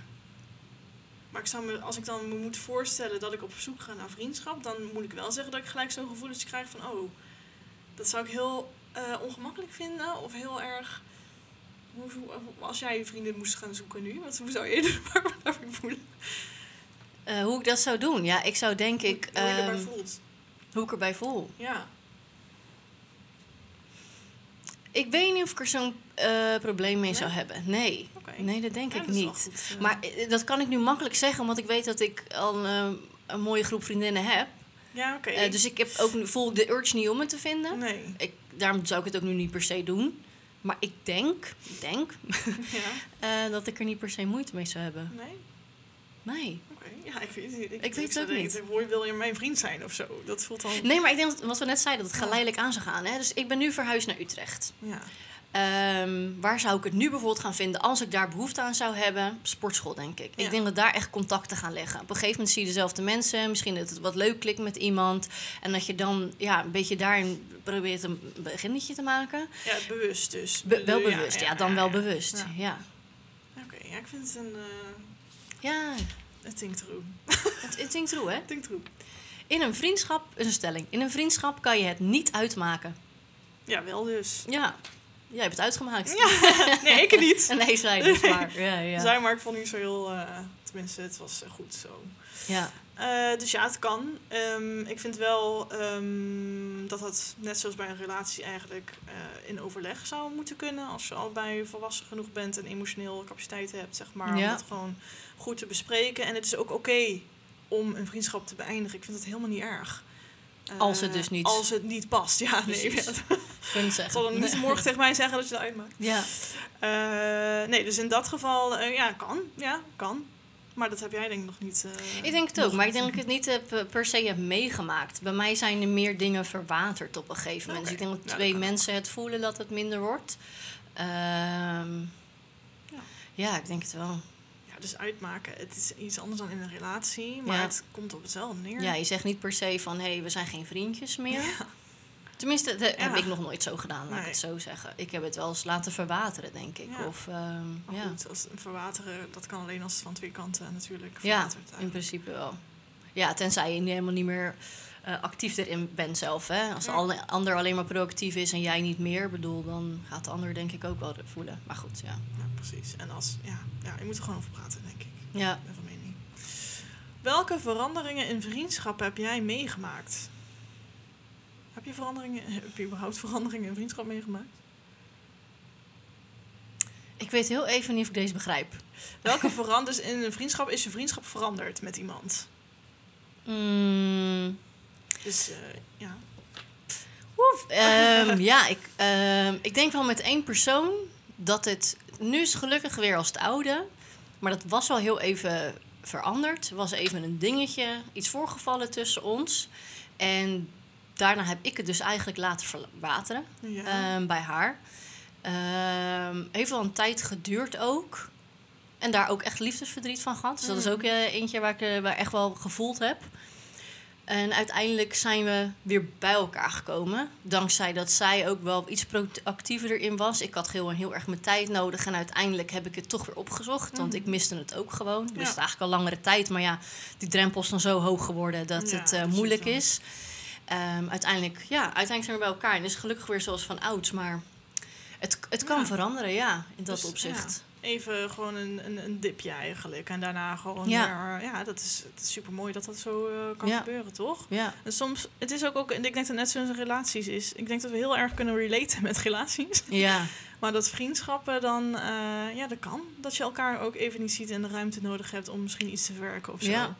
[SPEAKER 1] Maar ik zou me, als ik dan me moet voorstellen dat ik op zoek ga naar vriendschap, dan moet ik wel zeggen dat ik gelijk zo'n gevoelens krijg van, oh, dat zou ik heel eh, ongemakkelijk vinden. Of heel erg, hoe, hoe- als jij je vrienden moest gaan zoeken nu, wat, hoe zou je je daarvoor voelen?
[SPEAKER 2] Eh, hoe ik dat zou doen? Ja, ik zou denk ik...
[SPEAKER 1] hoe, hoe je erbij
[SPEAKER 2] ehm,
[SPEAKER 1] voelt.
[SPEAKER 2] hoe ik erbij voel.
[SPEAKER 1] Ja.
[SPEAKER 2] Ik weet niet of ik er zo'n eh, probleem mee
[SPEAKER 1] Nee?
[SPEAKER 2] zou hebben. Nee.
[SPEAKER 1] Oké.
[SPEAKER 2] Nee, dat denk
[SPEAKER 1] Ja,
[SPEAKER 2] ik
[SPEAKER 1] dat is wel
[SPEAKER 2] niet.
[SPEAKER 1] goed, eh.
[SPEAKER 2] Maar eh, dat kan ik nu makkelijk zeggen, want ik weet dat ik al eh, een mooie groep vriendinnen heb.
[SPEAKER 1] Ja, oké.
[SPEAKER 2] Eh, dus ik heb ook, voel ik de urge niet om het te vinden.
[SPEAKER 1] Nee.
[SPEAKER 2] Ik, daarom zou ik het ook nu niet per se doen. Maar ik denk, ik denk
[SPEAKER 1] Ja.
[SPEAKER 2] eh, dat ik er niet per se moeite mee zou hebben.
[SPEAKER 1] Nee?
[SPEAKER 2] Nee.
[SPEAKER 1] Oké. Ja, ik weet het niet. Ik,
[SPEAKER 2] weet het
[SPEAKER 1] zou
[SPEAKER 2] ook
[SPEAKER 1] denken,
[SPEAKER 2] niet.
[SPEAKER 1] Hoe wil je mijn vriend zijn of zo? Dat voelt dan...
[SPEAKER 2] Nee, maar ik denk dat, wat we net zeiden, dat het geleidelijk aan zou gaan. Hè? Dus ik ben nu verhuisd naar Utrecht.
[SPEAKER 1] Ja.
[SPEAKER 2] Ehm, waar zou ik het nu bijvoorbeeld gaan vinden als ik daar behoefte aan zou hebben? Sportschool, denk ik.
[SPEAKER 1] Ja.
[SPEAKER 2] Ik denk dat daar echt contacten gaan leggen. Op een gegeven moment zie je dezelfde mensen. Misschien dat het wat leuk klikt met iemand. En dat je dan ja, een beetje daarin probeert een beginnetje te maken.
[SPEAKER 1] ja, bewust dus.
[SPEAKER 2] Be- wel bewust, ja, dan wel
[SPEAKER 1] ja.
[SPEAKER 2] bewust.
[SPEAKER 1] Ja.
[SPEAKER 2] Ja,
[SPEAKER 1] Oké, ja, ik vind het een... eh
[SPEAKER 2] ja.
[SPEAKER 1] het ding true.
[SPEAKER 2] het het ding true, hè?
[SPEAKER 1] Het ding true.
[SPEAKER 2] In een vriendschap, is een stelling. In een vriendschap kan je het niet uitmaken.
[SPEAKER 1] Ja, wel dus.
[SPEAKER 2] Ja, jij hebt het uitgemaakt.
[SPEAKER 1] Ja. Nee, ik niet.
[SPEAKER 2] Nee, zij dus maar. Ja, ja.
[SPEAKER 1] Zij maar ik vond niet zo heel... eh, Tenminste, het was eh, goed zo.
[SPEAKER 2] Ja.
[SPEAKER 1] Eh, dus ja, het kan. Ehm, ik vind wel ehm, dat dat net zoals bij een relatie eigenlijk eh, in overleg zou moeten kunnen. Als je allebei volwassen genoeg bent en emotioneel capaciteit hebt, zeg maar.
[SPEAKER 2] Ja.
[SPEAKER 1] Om dat gewoon goed te bespreken. En het is ook oké om een vriendschap te beëindigen. Ik vind dat helemaal niet erg. Eh,
[SPEAKER 2] Als het dus niet-
[SPEAKER 1] Als het niet past, ja. Nee,
[SPEAKER 2] Precies.
[SPEAKER 1] ja,
[SPEAKER 2] Kunnen
[SPEAKER 1] dat
[SPEAKER 2] zeggen.
[SPEAKER 1] zal dan niet
[SPEAKER 2] Nee.
[SPEAKER 1] morgen tegen mij zeggen dat je het uitmaakt.
[SPEAKER 2] Ja.
[SPEAKER 1] Eh, nee, dus in dat geval, eh, ja, kan. Ja, kan. Maar dat heb jij denk ik nog niet... eh,
[SPEAKER 2] Ik denk het ook,
[SPEAKER 1] nog
[SPEAKER 2] maar ik
[SPEAKER 1] niet.
[SPEAKER 2] denk dat ik het niet heb, eh, per se heb meegemaakt. Bij mij zijn er meer dingen verwaterd op een gegeven moment.
[SPEAKER 1] Oké.
[SPEAKER 2] Dus ik denk
[SPEAKER 1] Ja,
[SPEAKER 2] dat
[SPEAKER 1] dat
[SPEAKER 2] twee
[SPEAKER 1] kan ook.
[SPEAKER 2] mensen het voelen dat het minder wordt. Ehm,
[SPEAKER 1] Ja.
[SPEAKER 2] ja. ik denk het wel.
[SPEAKER 1] Ja, dus uitmaken. Het is iets anders dan in een relatie, maar
[SPEAKER 2] Ja.
[SPEAKER 1] het komt op hetzelfde neer.
[SPEAKER 2] Ja, je zegt niet per se van hé, hey, we zijn geen vriendjes meer.
[SPEAKER 1] Ja.
[SPEAKER 2] Tenminste, dat heb
[SPEAKER 1] Ja.
[SPEAKER 2] ik nog nooit zo gedaan, laat ik
[SPEAKER 1] Nee.
[SPEAKER 2] het zo zeggen. Ik heb het wel eens laten verwateren, denk ik.
[SPEAKER 1] Ja.
[SPEAKER 2] Of, ehm,
[SPEAKER 1] Maar
[SPEAKER 2] ja.
[SPEAKER 1] goed, als een verwateren, dat kan alleen als het van twee kanten natuurlijk
[SPEAKER 2] ja,
[SPEAKER 1] verwaterd
[SPEAKER 2] in
[SPEAKER 1] eigenlijk.
[SPEAKER 2] principe wel. Ja, tenzij je helemaal niet meer eh, actief erin bent zelf. Hè? Als de
[SPEAKER 1] Ja.
[SPEAKER 2] alle- ander alleen maar productief is en jij niet meer, bedoel, dan gaat de ander denk ik ook wel voelen. Maar goed, ja.
[SPEAKER 1] Ja, precies. En als, ja, ja, je moet er gewoon over praten, denk ik.
[SPEAKER 2] Ja,
[SPEAKER 1] Ik ben van mening. Welke veranderingen in vriendschap heb jij meegemaakt? Heb je veranderingen, heb je überhaupt veranderingen in vriendschap meegemaakt?
[SPEAKER 2] ik weet heel even niet of ik deze begrijp.
[SPEAKER 1] Welke veranders in een vriendschap is je vriendschap veranderd met iemand?
[SPEAKER 2] Mm,
[SPEAKER 1] Dus eh, ja.
[SPEAKER 2] oef, ehm, ja, ik, ehm, ik denk wel met één persoon dat het... Nu is het gelukkig weer als het oude, maar dat was wel heel even veranderd. Er was even een dingetje, iets voorgevallen tussen ons. En daarna heb ik het dus eigenlijk laten verwateren.
[SPEAKER 1] ja.
[SPEAKER 2] Ehm, bij haar. Ehm, heeft wel een tijd geduurd ook. En daar ook echt liefdesverdriet van gehad. Dus dat is
[SPEAKER 1] Mm.
[SPEAKER 2] ook eh, eentje waar ik eh, waar echt wel gevoeld heb. En uiteindelijk zijn we weer bij elkaar gekomen. Dankzij dat zij ook wel iets proactiever erin was. Ik had heel, heel erg mijn tijd nodig. En uiteindelijk heb ik het toch weer opgezocht. Want
[SPEAKER 1] Mhm.
[SPEAKER 2] ik miste het ook gewoon. Ik
[SPEAKER 1] Ja.
[SPEAKER 2] miste het eigenlijk al langere tijd. Maar ja, die drempel is dan zo hoog geworden dat
[SPEAKER 1] Ja,
[SPEAKER 2] het eh,
[SPEAKER 1] dat is
[SPEAKER 2] moeilijk
[SPEAKER 1] het wel.
[SPEAKER 2] is. Ehm, uiteindelijk, ja, uiteindelijk zijn we bij elkaar. En is het gelukkig weer zoals van ouds. Maar het, het kan
[SPEAKER 1] Ja.
[SPEAKER 2] veranderen, ja, in dat
[SPEAKER 1] Dus,
[SPEAKER 2] opzicht.
[SPEAKER 1] even gewoon een, een, een dipje eigenlijk. En daarna gewoon
[SPEAKER 2] Ja.
[SPEAKER 1] weer... Ja, dat is, het is super mooi dat dat zo eh, kan
[SPEAKER 2] Ja.
[SPEAKER 1] gebeuren, toch?
[SPEAKER 2] Ja.
[SPEAKER 1] En soms, het is ook, ook... En ik denk dat net zoals in relaties is... Ik denk dat we heel erg kunnen relaten met relaties.
[SPEAKER 2] Ja.
[SPEAKER 1] Maar dat vriendschappen dan... eh, ja, dat kan. Dat je elkaar ook even niet ziet en de ruimte nodig hebt... om misschien iets te verwerken of zo.
[SPEAKER 2] Ja.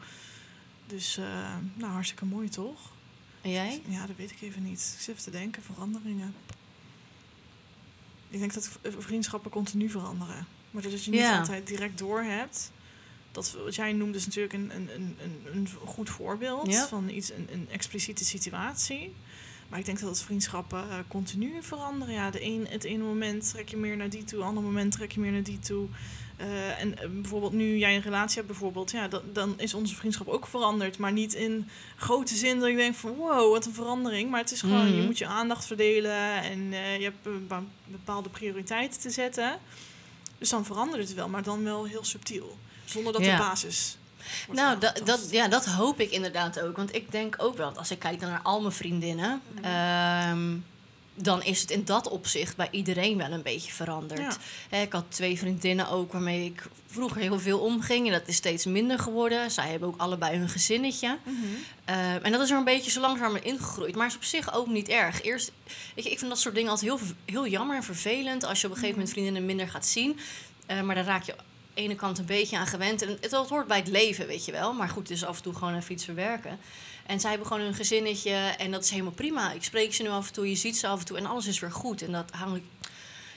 [SPEAKER 1] Dus, eh, nou, hartstikke mooi, toch?
[SPEAKER 2] En jij?
[SPEAKER 1] Ja, dat weet ik even niet. Ik zit even te denken, veranderingen. Ik denk dat v- vriendschappen continu veranderen. Maar dat je niet
[SPEAKER 2] Ja.
[SPEAKER 1] altijd direct door hebt. Dat, wat jij noemt is natuurlijk een, een, een, een- een goed voorbeeld
[SPEAKER 2] Ja.
[SPEAKER 1] van iets, een, een expliciete situatie. Maar ik denk dat vriendschappen eh, continu veranderen. Ja, de een, het ene moment trek je meer naar die toe, het andere moment trek je meer naar die toe. Eh, en eh, bijvoorbeeld nu jij een relatie hebt, bijvoorbeeld, ja, dan, dan is onze vriendschap ook veranderd. Maar niet in grote zin dat ik denk van wow, wat een verandering. Maar het is gewoon, je
[SPEAKER 2] Mhm.
[SPEAKER 1] moet je aandacht verdelen en eh, je hebt een ba- bepaalde prioriteiten te zetten. Dus dan verandert het wel, maar dan wel heel subtiel. Zonder dat
[SPEAKER 2] Ja.
[SPEAKER 1] de basis. wordt
[SPEAKER 2] Nou, dat,
[SPEAKER 1] aangetast.
[SPEAKER 2] dat, ja, dat hoop ik inderdaad ook. Want ik denk ook wel, dat als ik kijk dan naar al mijn vriendinnen,
[SPEAKER 1] Mhm.
[SPEAKER 2] ehm, dan is het in dat opzicht bij iedereen wel een beetje veranderd.
[SPEAKER 1] Ja.
[SPEAKER 2] Hè, ik had twee vriendinnen ook waarmee ik vroeger heel veel omging. En dat is steeds minder geworden. Zij hebben ook allebei hun gezinnetje.
[SPEAKER 1] Mhm.
[SPEAKER 2] Eh, en dat is er een beetje zo langzaam in ingegroeid. Maar is op zich ook niet erg. Eerst, ik, ik vind dat soort dingen altijd heel, ver- heel jammer en vervelend. Als je op een gegeven moment vriendinnen minder gaat zien. Eh, maar daar raak je aan de ene kant een beetje aan gewend. En het, dat hoort bij het leven, weet je wel. Maar goed, dus af en toe gewoon even iets verwerken. En zij hebben gewoon hun gezinnetje. En dat is helemaal prima. Ik spreek ze nu af en toe. Je ziet ze af en toe. En alles is weer goed. En dat, hang ik,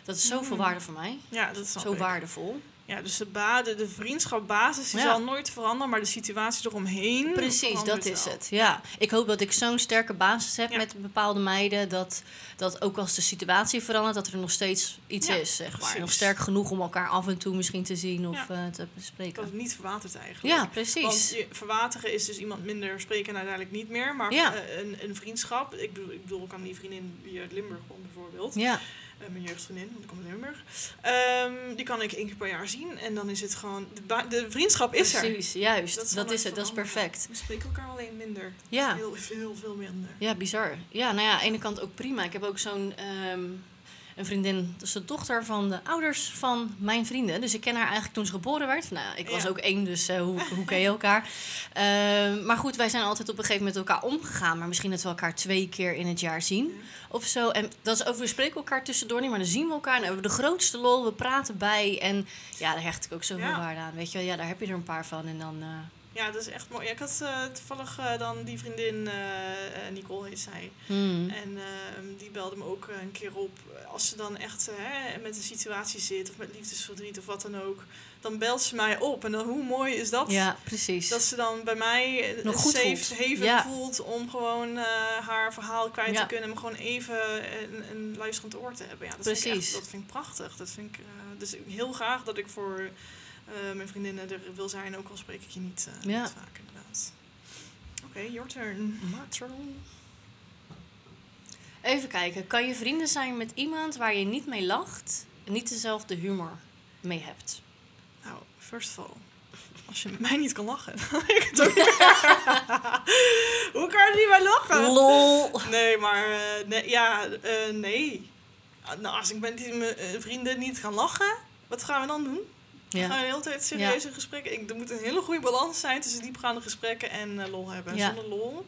[SPEAKER 2] dat is zoveel
[SPEAKER 1] Mm.
[SPEAKER 2] waarde voor mij.
[SPEAKER 1] Ja, dat snap
[SPEAKER 2] Zo
[SPEAKER 1] ik.
[SPEAKER 2] waardevol.
[SPEAKER 1] Ja, dus de, ba de, de vriendschapbasis die
[SPEAKER 2] Ja.
[SPEAKER 1] zal nooit veranderen, maar de situatie eromheen.
[SPEAKER 2] Precies, dat
[SPEAKER 1] verandert
[SPEAKER 2] is
[SPEAKER 1] wel.
[SPEAKER 2] het. Ja. Ik hoop dat ik zo'n sterke basis heb
[SPEAKER 1] Ja.
[SPEAKER 2] met bepaalde meiden. Dat, dat ook als de situatie verandert, dat er nog steeds iets
[SPEAKER 1] Ja,
[SPEAKER 2] is. Zeg maar.
[SPEAKER 1] precies.
[SPEAKER 2] Nog sterk genoeg om elkaar af en toe misschien te zien of eh, te
[SPEAKER 1] Dat
[SPEAKER 2] bespreken.
[SPEAKER 1] het niet verwaterd eigenlijk.
[SPEAKER 2] Ja, precies.
[SPEAKER 1] Want je- verwateren is dus iemand minder spreken en uiteindelijk niet meer. Maar
[SPEAKER 2] Ja.
[SPEAKER 1] eh, een, een vriendschap, ik bedoel, ik bedoel, ik kan die vriendin die uit Limburg komt bijvoorbeeld.
[SPEAKER 2] Ja,
[SPEAKER 1] Eh, mijn jeugdvriendin, want ik kom uit Limburg. Ehm, die kan ik één keer per jaar zien. En dan is het gewoon, de, ba- de vriendschap is er. Dus
[SPEAKER 2] precies. Juist,
[SPEAKER 1] Dat
[SPEAKER 2] dat,
[SPEAKER 1] zal nooit
[SPEAKER 2] is het. Dat is
[SPEAKER 1] veranderen.
[SPEAKER 2] perfect.
[SPEAKER 1] We spreken elkaar alleen minder.
[SPEAKER 2] Ja.
[SPEAKER 1] Heel, heel veel minder.
[SPEAKER 2] Ja, bizar. Ja, nou ja, aan de ene kant ook prima. Ik heb ook zo'n ehm, een vriendin, dus de dochter van de ouders van mijn vrienden. Dus ik ken haar eigenlijk toen ze geboren werd. Nou, ik was
[SPEAKER 1] Ja.
[SPEAKER 2] ook één, dus eh, hoe, hoe ken je elkaar? Ehm, maar goed, wij zijn altijd op een gegeven moment met elkaar omgegaan. Maar misschien dat we elkaar twee keer in het jaar zien of zo. En dat is ook, we spreken elkaar tussendoor niet, maar dan zien we elkaar en hebben we de grootste lol. We praten bij en ja, daar hecht ik ook zoveel
[SPEAKER 1] Ja.
[SPEAKER 2] waarde aan. Weet je wel, ja, daar heb je er een paar van en dan... eh,
[SPEAKER 1] Ja, dat is echt mooi. Ja, ik had eh, toevallig eh, dan die vriendin, eh, eh, Nicole heet zij.
[SPEAKER 2] hmm.
[SPEAKER 1] En ehm, die belde me ook eh, een keer op. Als ze dan echt eh, hè, met een situatie zit of met liefdesverdriet of wat dan ook, dan belt ze mij op. En dan, hoe mooi is dat?
[SPEAKER 2] Ja, precies.
[SPEAKER 1] Dat ze dan bij mij eh,
[SPEAKER 2] Nog goed
[SPEAKER 1] safe
[SPEAKER 2] voelt.
[SPEAKER 1] haven
[SPEAKER 2] Ja.
[SPEAKER 1] voelt om gewoon eh, haar verhaal kwijt
[SPEAKER 2] Ja.
[SPEAKER 1] te kunnen. En gewoon even een, een luisterend oor te hebben. Ja, dat, Vind ik
[SPEAKER 2] Precies.
[SPEAKER 1] echt, dat vind ik prachtig. Dat vind ik, eh, dus ik- heel graag dat ik voor eh, mijn vriendinnen er wil zijn. Ook al spreek ik je niet, eh,
[SPEAKER 2] Ja.
[SPEAKER 1] niet vaak inderdaad. Oké, your turn.
[SPEAKER 2] Matron. Even kijken, kan je vrienden zijn met iemand waar je niet mee lacht en niet dezelfde humor mee hebt?
[SPEAKER 1] Nou, first of all. Als je met mij niet kan lachen, dan weet ik het ook niet. Hoe kan je er niet bij lachen?
[SPEAKER 2] Lol.
[SPEAKER 1] Nee, maar eh, nee, ja, eh, nee. Ah, Nou, als ik met die- mijn eh, vrienden niet gaan lachen, wat gaan we dan doen? Gaan
[SPEAKER 2] Ja.
[SPEAKER 1] we de hele tijd serieuze gesprekken? Ik, er moet een hele goede balans zijn tussen diepgaande gesprekken en eh, lol hebben.
[SPEAKER 2] Ja.
[SPEAKER 1] Zonder lol.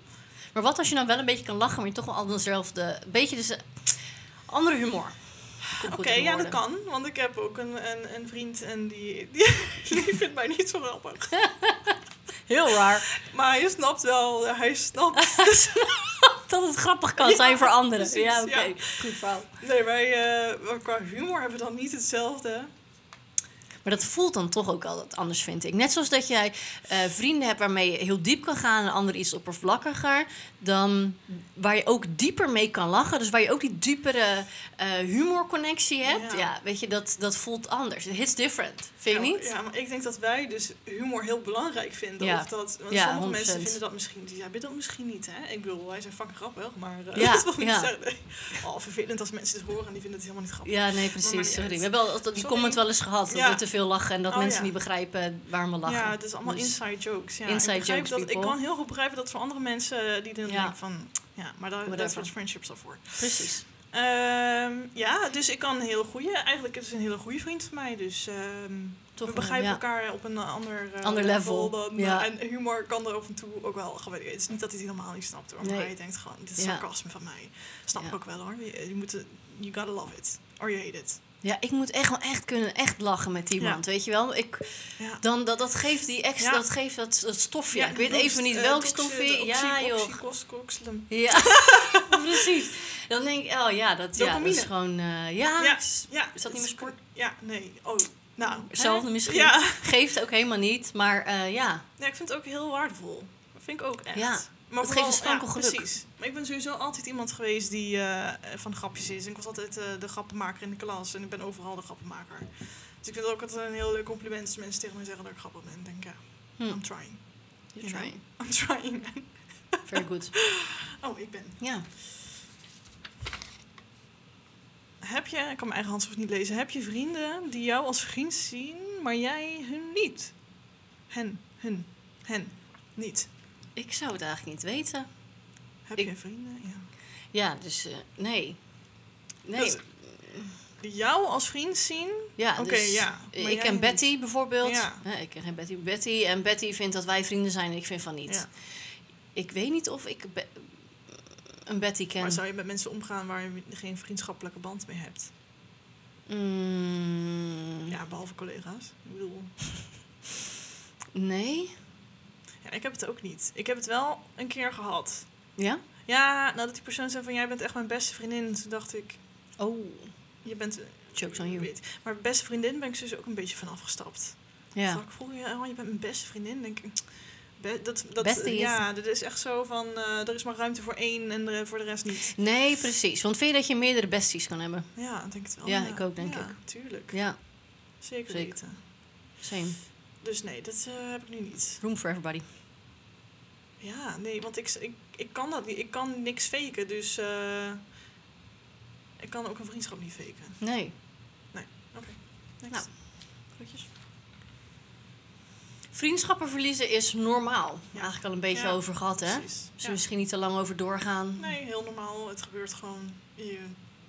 [SPEAKER 2] Maar wat als je nou wel een beetje kan lachen, maar je toch wel allemaal dezelfde, beetje dus andere humor? Komt goed
[SPEAKER 1] Oké,
[SPEAKER 2] in
[SPEAKER 1] ja, dat
[SPEAKER 2] woorden.
[SPEAKER 1] kan. Want ik heb ook een, een, een vriend en die, die, die vindt mij niet zo grappig.
[SPEAKER 2] Heel raar
[SPEAKER 1] Maar hij snapt wel, hij snapt.
[SPEAKER 2] dat het grappig kan
[SPEAKER 1] Ja,
[SPEAKER 2] zijn voor anderen.
[SPEAKER 1] precies,
[SPEAKER 2] ja, oké.
[SPEAKER 1] ja.
[SPEAKER 2] Goed verhaal.
[SPEAKER 1] Nee, wij eh, qua humor hebben we dan niet hetzelfde.
[SPEAKER 2] Maar dat voelt dan toch ook altijd anders, vind ik. Net zoals dat jij eh, vrienden hebt waarmee je heel diep kan gaan... en anderen iets oppervlakkiger. Dan waar je ook dieper mee kan lachen. Dus waar je ook die diepere eh, humorconnectie hebt.
[SPEAKER 1] Ja.
[SPEAKER 2] Ja. weet je, dat, dat voelt anders. It hits different, vind je
[SPEAKER 1] ja,
[SPEAKER 2] niet?
[SPEAKER 1] Nou, Ja, maar ik denk dat wij dus humor heel belangrijk vinden.
[SPEAKER 2] Ja.
[SPEAKER 1] Of dat, want
[SPEAKER 2] Ja,
[SPEAKER 1] sommige
[SPEAKER 2] 100%.
[SPEAKER 1] mensen vinden dat misschien, die hebben dat misschien niet. Hè? Ik bedoel, wij zijn fucking grappig, maar eh,
[SPEAKER 2] Ja,
[SPEAKER 1] dat wil niet
[SPEAKER 2] ja.
[SPEAKER 1] zeggen. nee. Oh, vervelend als mensen het horen en die vinden het helemaal niet grappig.
[SPEAKER 2] Ja, nee,
[SPEAKER 1] Maar maakt
[SPEAKER 2] precies.
[SPEAKER 1] niet
[SPEAKER 2] Sorry.
[SPEAKER 1] uit.
[SPEAKER 2] We hebben al, dat- die
[SPEAKER 1] Sorry.
[SPEAKER 2] comment wel eens gehad. Dat
[SPEAKER 1] Ja.
[SPEAKER 2] we te veel lachen en dat
[SPEAKER 1] Oh,
[SPEAKER 2] mensen
[SPEAKER 1] ja.
[SPEAKER 2] niet begrijpen waar we lachen.
[SPEAKER 1] Ja, het is allemaal
[SPEAKER 2] Dus-
[SPEAKER 1] inside jokes. Ja.
[SPEAKER 2] Inside
[SPEAKER 1] ik, begrijp
[SPEAKER 2] jokes,
[SPEAKER 1] dat, ik
[SPEAKER 2] people.
[SPEAKER 1] kan heel goed begrijpen dat voor andere mensen eh, die dan
[SPEAKER 2] Ja.
[SPEAKER 1] denken van... Ja, maar daar, dat
[SPEAKER 2] Whatever.
[SPEAKER 1] is wat friendships al voor.
[SPEAKER 2] Precies.
[SPEAKER 1] Ehm, ja, dus ik kan een heel goede... Eigenlijk het is een hele goede vriend van mij, dus... ehm,
[SPEAKER 2] Toch
[SPEAKER 1] we
[SPEAKER 2] wel,
[SPEAKER 1] begrijpen
[SPEAKER 2] ja.
[SPEAKER 1] elkaar op een eh, ander, eh,
[SPEAKER 2] Ander level,
[SPEAKER 1] dan,
[SPEAKER 2] ja.
[SPEAKER 1] En humor kan er af en toe ook wel. gewoon- Het is niet dat hij het helemaal niet snapt hoor. Maar
[SPEAKER 2] Nee.
[SPEAKER 1] hij denkt gewoon, dit is
[SPEAKER 2] Ja.
[SPEAKER 1] sarcasme van mij. Snap
[SPEAKER 2] Ja.
[SPEAKER 1] ik ook wel hoor. Je, je moet, het- you gotta love it. Or you hate it.
[SPEAKER 2] Ja, ik moet echt wel echt kunnen echt lachen met iemand, weet je wel? Ik,
[SPEAKER 1] Ja.
[SPEAKER 2] dan, dat, dat geeft die extra,
[SPEAKER 1] Ja.
[SPEAKER 2] dat geeft dat, dat stofje.
[SPEAKER 1] Ja,
[SPEAKER 2] ik weet
[SPEAKER 1] die
[SPEAKER 2] even
[SPEAKER 1] roest,
[SPEAKER 2] niet
[SPEAKER 1] eh,
[SPEAKER 2] welk
[SPEAKER 1] toxi-
[SPEAKER 2] stofje.
[SPEAKER 1] de
[SPEAKER 2] Ja,
[SPEAKER 1] oxy-
[SPEAKER 2] joh.
[SPEAKER 1] oxycoscoxlem.
[SPEAKER 2] Ja, precies. Dan denk ik, oh ja, dat, ja, dat is
[SPEAKER 1] Dopamine.
[SPEAKER 2] gewoon... eh, ja,
[SPEAKER 1] Ja.
[SPEAKER 2] s-
[SPEAKER 1] Ja,
[SPEAKER 2] Is dat niet meer sport?
[SPEAKER 1] Ja, nee. Oh, nou. hè?
[SPEAKER 2] hetzelfde misschien.
[SPEAKER 1] Ja.
[SPEAKER 2] Geeft ook helemaal niet, maar eh, ja.
[SPEAKER 1] ja, ik vind het ook heel waardevol. Dat vind ik ook echt.
[SPEAKER 2] Ja,
[SPEAKER 1] Maar
[SPEAKER 2] het geeft een sprankel geluk.
[SPEAKER 1] Precies. Maar ik ben sowieso altijd iemand geweest die eh, van grapjes is. En ik was altijd eh, de grappenmaker in de klas. En ik ben overal de grappenmaker. Dus ik vind het ook altijd een heel leuk compliment als mensen tegen mij zeggen dat ik grappig ben. Ik denk, ja,
[SPEAKER 2] Hm.
[SPEAKER 1] I'm trying.
[SPEAKER 2] You
[SPEAKER 1] You
[SPEAKER 2] try.
[SPEAKER 1] know? I'm trying.
[SPEAKER 2] Very good.
[SPEAKER 1] Oh, ik ben.
[SPEAKER 2] Ja.
[SPEAKER 1] Heb je, ik kan mijn eigen handschrift niet lezen. Heb je vrienden die jou als vriend zien, maar jij hun niet? Hen, hun, hen, niet.
[SPEAKER 2] Ik zou het eigenlijk niet weten.
[SPEAKER 1] Heb
[SPEAKER 2] Ik-
[SPEAKER 1] je vrienden? Ja.
[SPEAKER 2] Ja, dus eh, nee. Nee.
[SPEAKER 1] Dus- Die jou als vriend zien?
[SPEAKER 2] Ja,
[SPEAKER 1] Oké,
[SPEAKER 2] dus
[SPEAKER 1] ja. Maar
[SPEAKER 2] ik
[SPEAKER 1] jij
[SPEAKER 2] ken
[SPEAKER 1] niet.
[SPEAKER 2] Betty bijvoorbeeld.
[SPEAKER 1] Ja.
[SPEAKER 2] Hè, ik ken geen Betty. Betty en Betty vindt dat wij vrienden zijn en ik vind van niet.
[SPEAKER 1] Ja.
[SPEAKER 2] Ik weet niet of ik Be- een Betty ken.
[SPEAKER 1] Maar zou je met mensen omgaan waar je geen vriendschappelijke band mee hebt?
[SPEAKER 2] Mm,
[SPEAKER 1] Ja, behalve collega's. Ik bedoel,
[SPEAKER 2] Nee?
[SPEAKER 1] ja, ik heb het ook niet. Ik heb het wel een keer gehad.
[SPEAKER 2] Ja?
[SPEAKER 1] Ja, nadat die persoon zei van jij bent echt mijn beste vriendin, toen dacht ik,
[SPEAKER 2] Oh,
[SPEAKER 1] je bent...
[SPEAKER 2] jokes on you.
[SPEAKER 1] Weet- Maar beste vriendin ben ik dus ook een beetje van afgestapt. Ja.
[SPEAKER 2] Ja.
[SPEAKER 1] ik vroeg je, oh, je bent mijn beste vriendin. Denk ik, be- dat, dat,
[SPEAKER 2] Bestie is-
[SPEAKER 1] ja, dat is echt zo van, eh, er is maar ruimte voor één en er- voor de rest niet.
[SPEAKER 2] Nee, precies. Want vind je dat je meerdere besties kan hebben?
[SPEAKER 1] Ja, ik denk het wel.
[SPEAKER 2] Ja, ik ook, denk
[SPEAKER 1] ja,
[SPEAKER 2] ik.
[SPEAKER 1] tuurlijk.
[SPEAKER 2] Ja,
[SPEAKER 1] Zeker,
[SPEAKER 2] Zeker.
[SPEAKER 1] weten.
[SPEAKER 2] same.
[SPEAKER 1] Dus nee, dat eh, heb ik nu niet.
[SPEAKER 2] Room for everybody.
[SPEAKER 1] Ja, nee, want ik, ik, ik kan dat niet. Ik kan niks faken, dus eh, ik kan ook een vriendschap niet faken.
[SPEAKER 2] Nee.
[SPEAKER 1] Oké, next.
[SPEAKER 2] Nou.
[SPEAKER 1] Groetjes.
[SPEAKER 2] Vriendschappen verliezen is normaal. Eigenlijk al een beetje
[SPEAKER 1] Ja,
[SPEAKER 2] over gehad, hè?
[SPEAKER 1] Precies.
[SPEAKER 2] Dus
[SPEAKER 1] Ja.
[SPEAKER 2] misschien niet te lang over doorgaan.
[SPEAKER 1] Nee, heel normaal. Het gebeurt gewoon. Je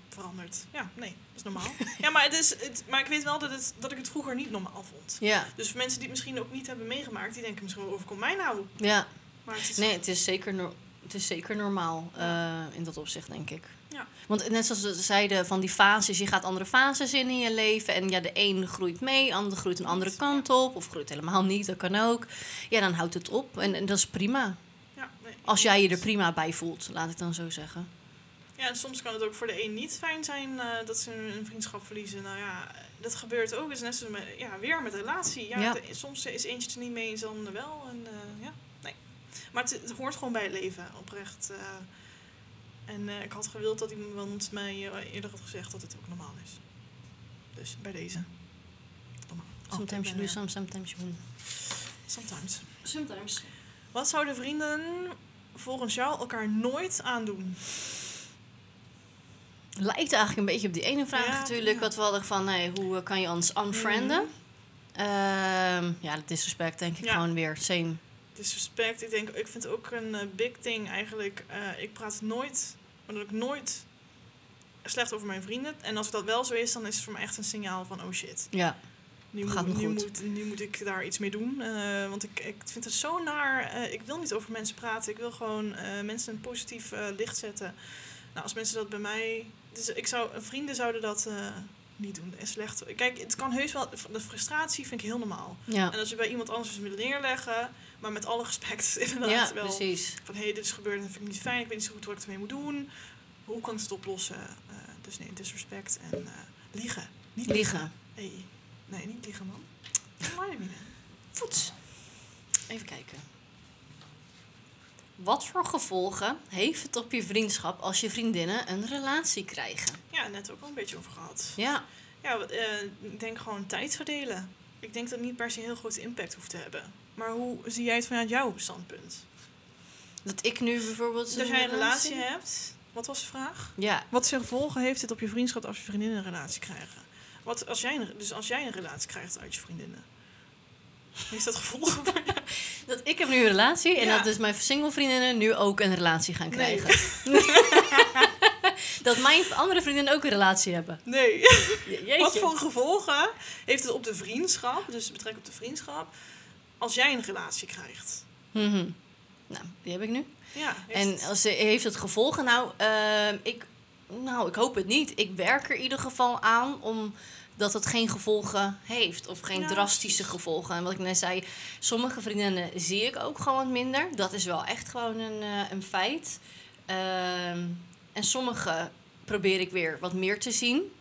[SPEAKER 1] veranderd. Ja, nee, dat is normaal. ja, maar, het is, het, maar ik weet wel dat, het, dat ik het vroeger niet normaal vond.
[SPEAKER 2] Ja,
[SPEAKER 1] Dus voor mensen die het misschien ook niet hebben meegemaakt, die denken misschien, overkomt mij nou?
[SPEAKER 2] ja.
[SPEAKER 1] Maar het is,
[SPEAKER 2] Nee, het is zeker, no- het is zeker normaal eh, in dat opzicht, denk ik.
[SPEAKER 1] Ja.
[SPEAKER 2] Want net zoals we zeiden, van die fases, je gaat andere fases in in je leven. En ja, de een groeit mee, de ander groeit een andere kant op. Of groeit helemaal niet, dat kan ook. Ja, dan houdt het op. En, en dat is prima.
[SPEAKER 1] ja, nee.
[SPEAKER 2] Als jij je er prima bij voelt, laat ik het dan zo zeggen.
[SPEAKER 1] Ja, en soms kan het ook voor de een niet fijn zijn eh, dat ze hun hun vriendschap verliezen. Nou ja, dat gebeurt ook. Het is net zoals met, ja, weer met relatie. Ja,
[SPEAKER 2] Ja.
[SPEAKER 1] de- soms is eentje er niet mee, is de ander wel. En, eh, ja, nee. Maar het, het hoort gewoon bij het leven, oprecht. eh. en eh, ik had gewild dat iemand mij eh, eerder had gezegd dat het ook normaal is. Dus bij deze. Normaal.
[SPEAKER 2] Sometimes
[SPEAKER 1] Altijd
[SPEAKER 2] you do,
[SPEAKER 1] bijna.
[SPEAKER 2] some, sometimes you win.
[SPEAKER 1] Sometimes.
[SPEAKER 2] Sometimes.
[SPEAKER 1] Wat zouden vrienden volgens jou elkaar nooit aandoen?
[SPEAKER 2] Lijkt eigenlijk een beetje op die ene vraag
[SPEAKER 1] Ja,
[SPEAKER 2] natuurlijk.
[SPEAKER 1] ja.
[SPEAKER 2] Wat we hadden van, hey, hoe eh, kan je ons unfrienden?
[SPEAKER 1] Mhm.
[SPEAKER 2] Ehm, ja, dat disrespect denk ik
[SPEAKER 1] Ja.
[SPEAKER 2] gewoon weer. Same.
[SPEAKER 1] disrespect. Ik denk, ik vind ook een eh, big thing eigenlijk. eh, ik praat nooit, maar dat ik nooit slecht over mijn vrienden. En als dat wel zo is, dan is het voor mij echt een signaal van oh shit.
[SPEAKER 2] Ja.
[SPEAKER 1] Nu,
[SPEAKER 2] Gaat
[SPEAKER 1] moet,
[SPEAKER 2] niet
[SPEAKER 1] nu,
[SPEAKER 2] goed.
[SPEAKER 1] moet, nu moet ik daar iets mee doen. Eh, want ik, ik vind het zo naar. eh, ik wil niet over mensen praten. Ik wil gewoon eh, mensen een positief eh, licht zetten. Nou, als mensen dat bij mij. Dus ik zou, vrienden zouden dat eh, niet doen. En slecht. Kijk, het kan heus wel. De frustratie vind ik heel normaal.
[SPEAKER 2] Ja,
[SPEAKER 1] En als je bij iemand anders wil neerleggen, maar met alle respect inderdaad
[SPEAKER 2] ja
[SPEAKER 1] wel.
[SPEAKER 2] precies.
[SPEAKER 1] Van hé, dit is gebeurd en dat vind ik niet fijn. Ik weet niet zo goed wat ik ermee moet doen. Hoe kan ik het oplossen? Eh, dus nee, disrespect en eh, liegen. Niet
[SPEAKER 2] Liegen.
[SPEAKER 1] Hey. Nee, niet liegen man. Waar je niet mee.
[SPEAKER 2] Voets. Even kijken. Wat voor gevolgen heeft het op je vriendschap als je vriendinnen een relatie krijgen?
[SPEAKER 1] Ja, net ook al een beetje over gehad.
[SPEAKER 2] Ja,
[SPEAKER 1] Ja, wat, eh, ik denk gewoon tijd verdelen. Ik denk dat het niet per se heel grote impact hoeft te hebben. Maar hoe zie jij het vanuit jouw standpunt?
[SPEAKER 2] dat ik nu bijvoorbeeld.
[SPEAKER 1] Dus als jij een relatie hebt, wat was de vraag?
[SPEAKER 2] Ja,
[SPEAKER 1] Wat zijn gevolgen heeft dit op je vriendschap als je vriendinnen een relatie krijgen? Wat als jij, een- dus als jij een relatie krijgt uit je vriendinnen? Heeft dat gevolgen voor je?
[SPEAKER 2] dat ik heb nu een relatie en
[SPEAKER 1] Ja.
[SPEAKER 2] dat dus mijn single vriendinnen nu ook een relatie gaan krijgen. dat mijn andere vriendinnen ook een relatie hebben.
[SPEAKER 1] Nee.
[SPEAKER 2] Je- Jeetje.
[SPEAKER 1] Wat voor gevolgen heeft het op de vriendschap, dus met betrekking op de vriendschap, als jij een relatie krijgt?
[SPEAKER 2] Mhm. Nou, die heb ik nu.
[SPEAKER 1] Ja. heeft
[SPEAKER 2] En
[SPEAKER 1] het-
[SPEAKER 2] als, ze- heeft het gevolgen? Nou, ehm, ik, nou, ik hoop het niet. Ik werk er in ieder geval aan omdat het geen gevolgen heeft. Of geen
[SPEAKER 1] Ja,
[SPEAKER 2] drastische
[SPEAKER 1] precies.
[SPEAKER 2] gevolgen. En wat ik net zei, sommige vriendinnen zie ik ook gewoon minder. Dat is wel echt gewoon een, eh, een feit. Ehm, en sommige probeer ik weer wat meer te zien.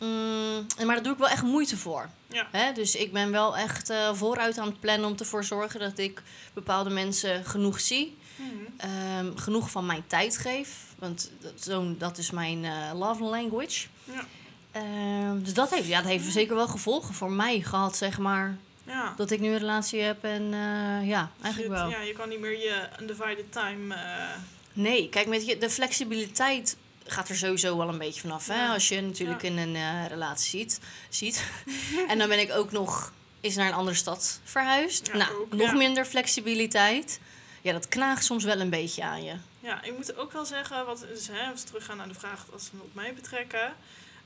[SPEAKER 2] Mm, en maar daar doe ik wel echt moeite voor.
[SPEAKER 1] Ja.
[SPEAKER 2] Hè? Dus ik ben wel echt eh, vooruit aan het plannen om ervoor te zorgen dat ik bepaalde mensen genoeg zie
[SPEAKER 1] Mhm.
[SPEAKER 2] ehm, genoeg van mijn tijd geef. Want dat, zo'n- dat is mijn eh, love language.
[SPEAKER 1] Ja.
[SPEAKER 2] Ehm, dus dat heeft, ja, dat heeft zeker wel gevolgen voor mij gehad, zeg maar.
[SPEAKER 1] ja.
[SPEAKER 2] Dat ik nu een relatie heb en eh, ja, eigenlijk
[SPEAKER 1] Je-
[SPEAKER 2] wel.
[SPEAKER 1] Ja, je kan niet meer je undivided time. eh,
[SPEAKER 2] Nee, kijk, met je, de flexibiliteit gaat er sowieso wel een beetje vanaf. Hè?
[SPEAKER 1] Ja.
[SPEAKER 2] Als je natuurlijk
[SPEAKER 1] Ja.
[SPEAKER 2] in een eh, relatie ziet. ziet. en dan ben ik ook nog eens naar een andere stad verhuisd.
[SPEAKER 1] Ja,
[SPEAKER 2] nou,
[SPEAKER 1] ook,
[SPEAKER 2] nog
[SPEAKER 1] ja.
[SPEAKER 2] minder flexibiliteit. Ja, dat knaagt soms wel een beetje aan je.
[SPEAKER 1] Ja, ik moet ook wel zeggen, wat is, hè, als we teruggaan naar de vraag als we hem op mij betrekken.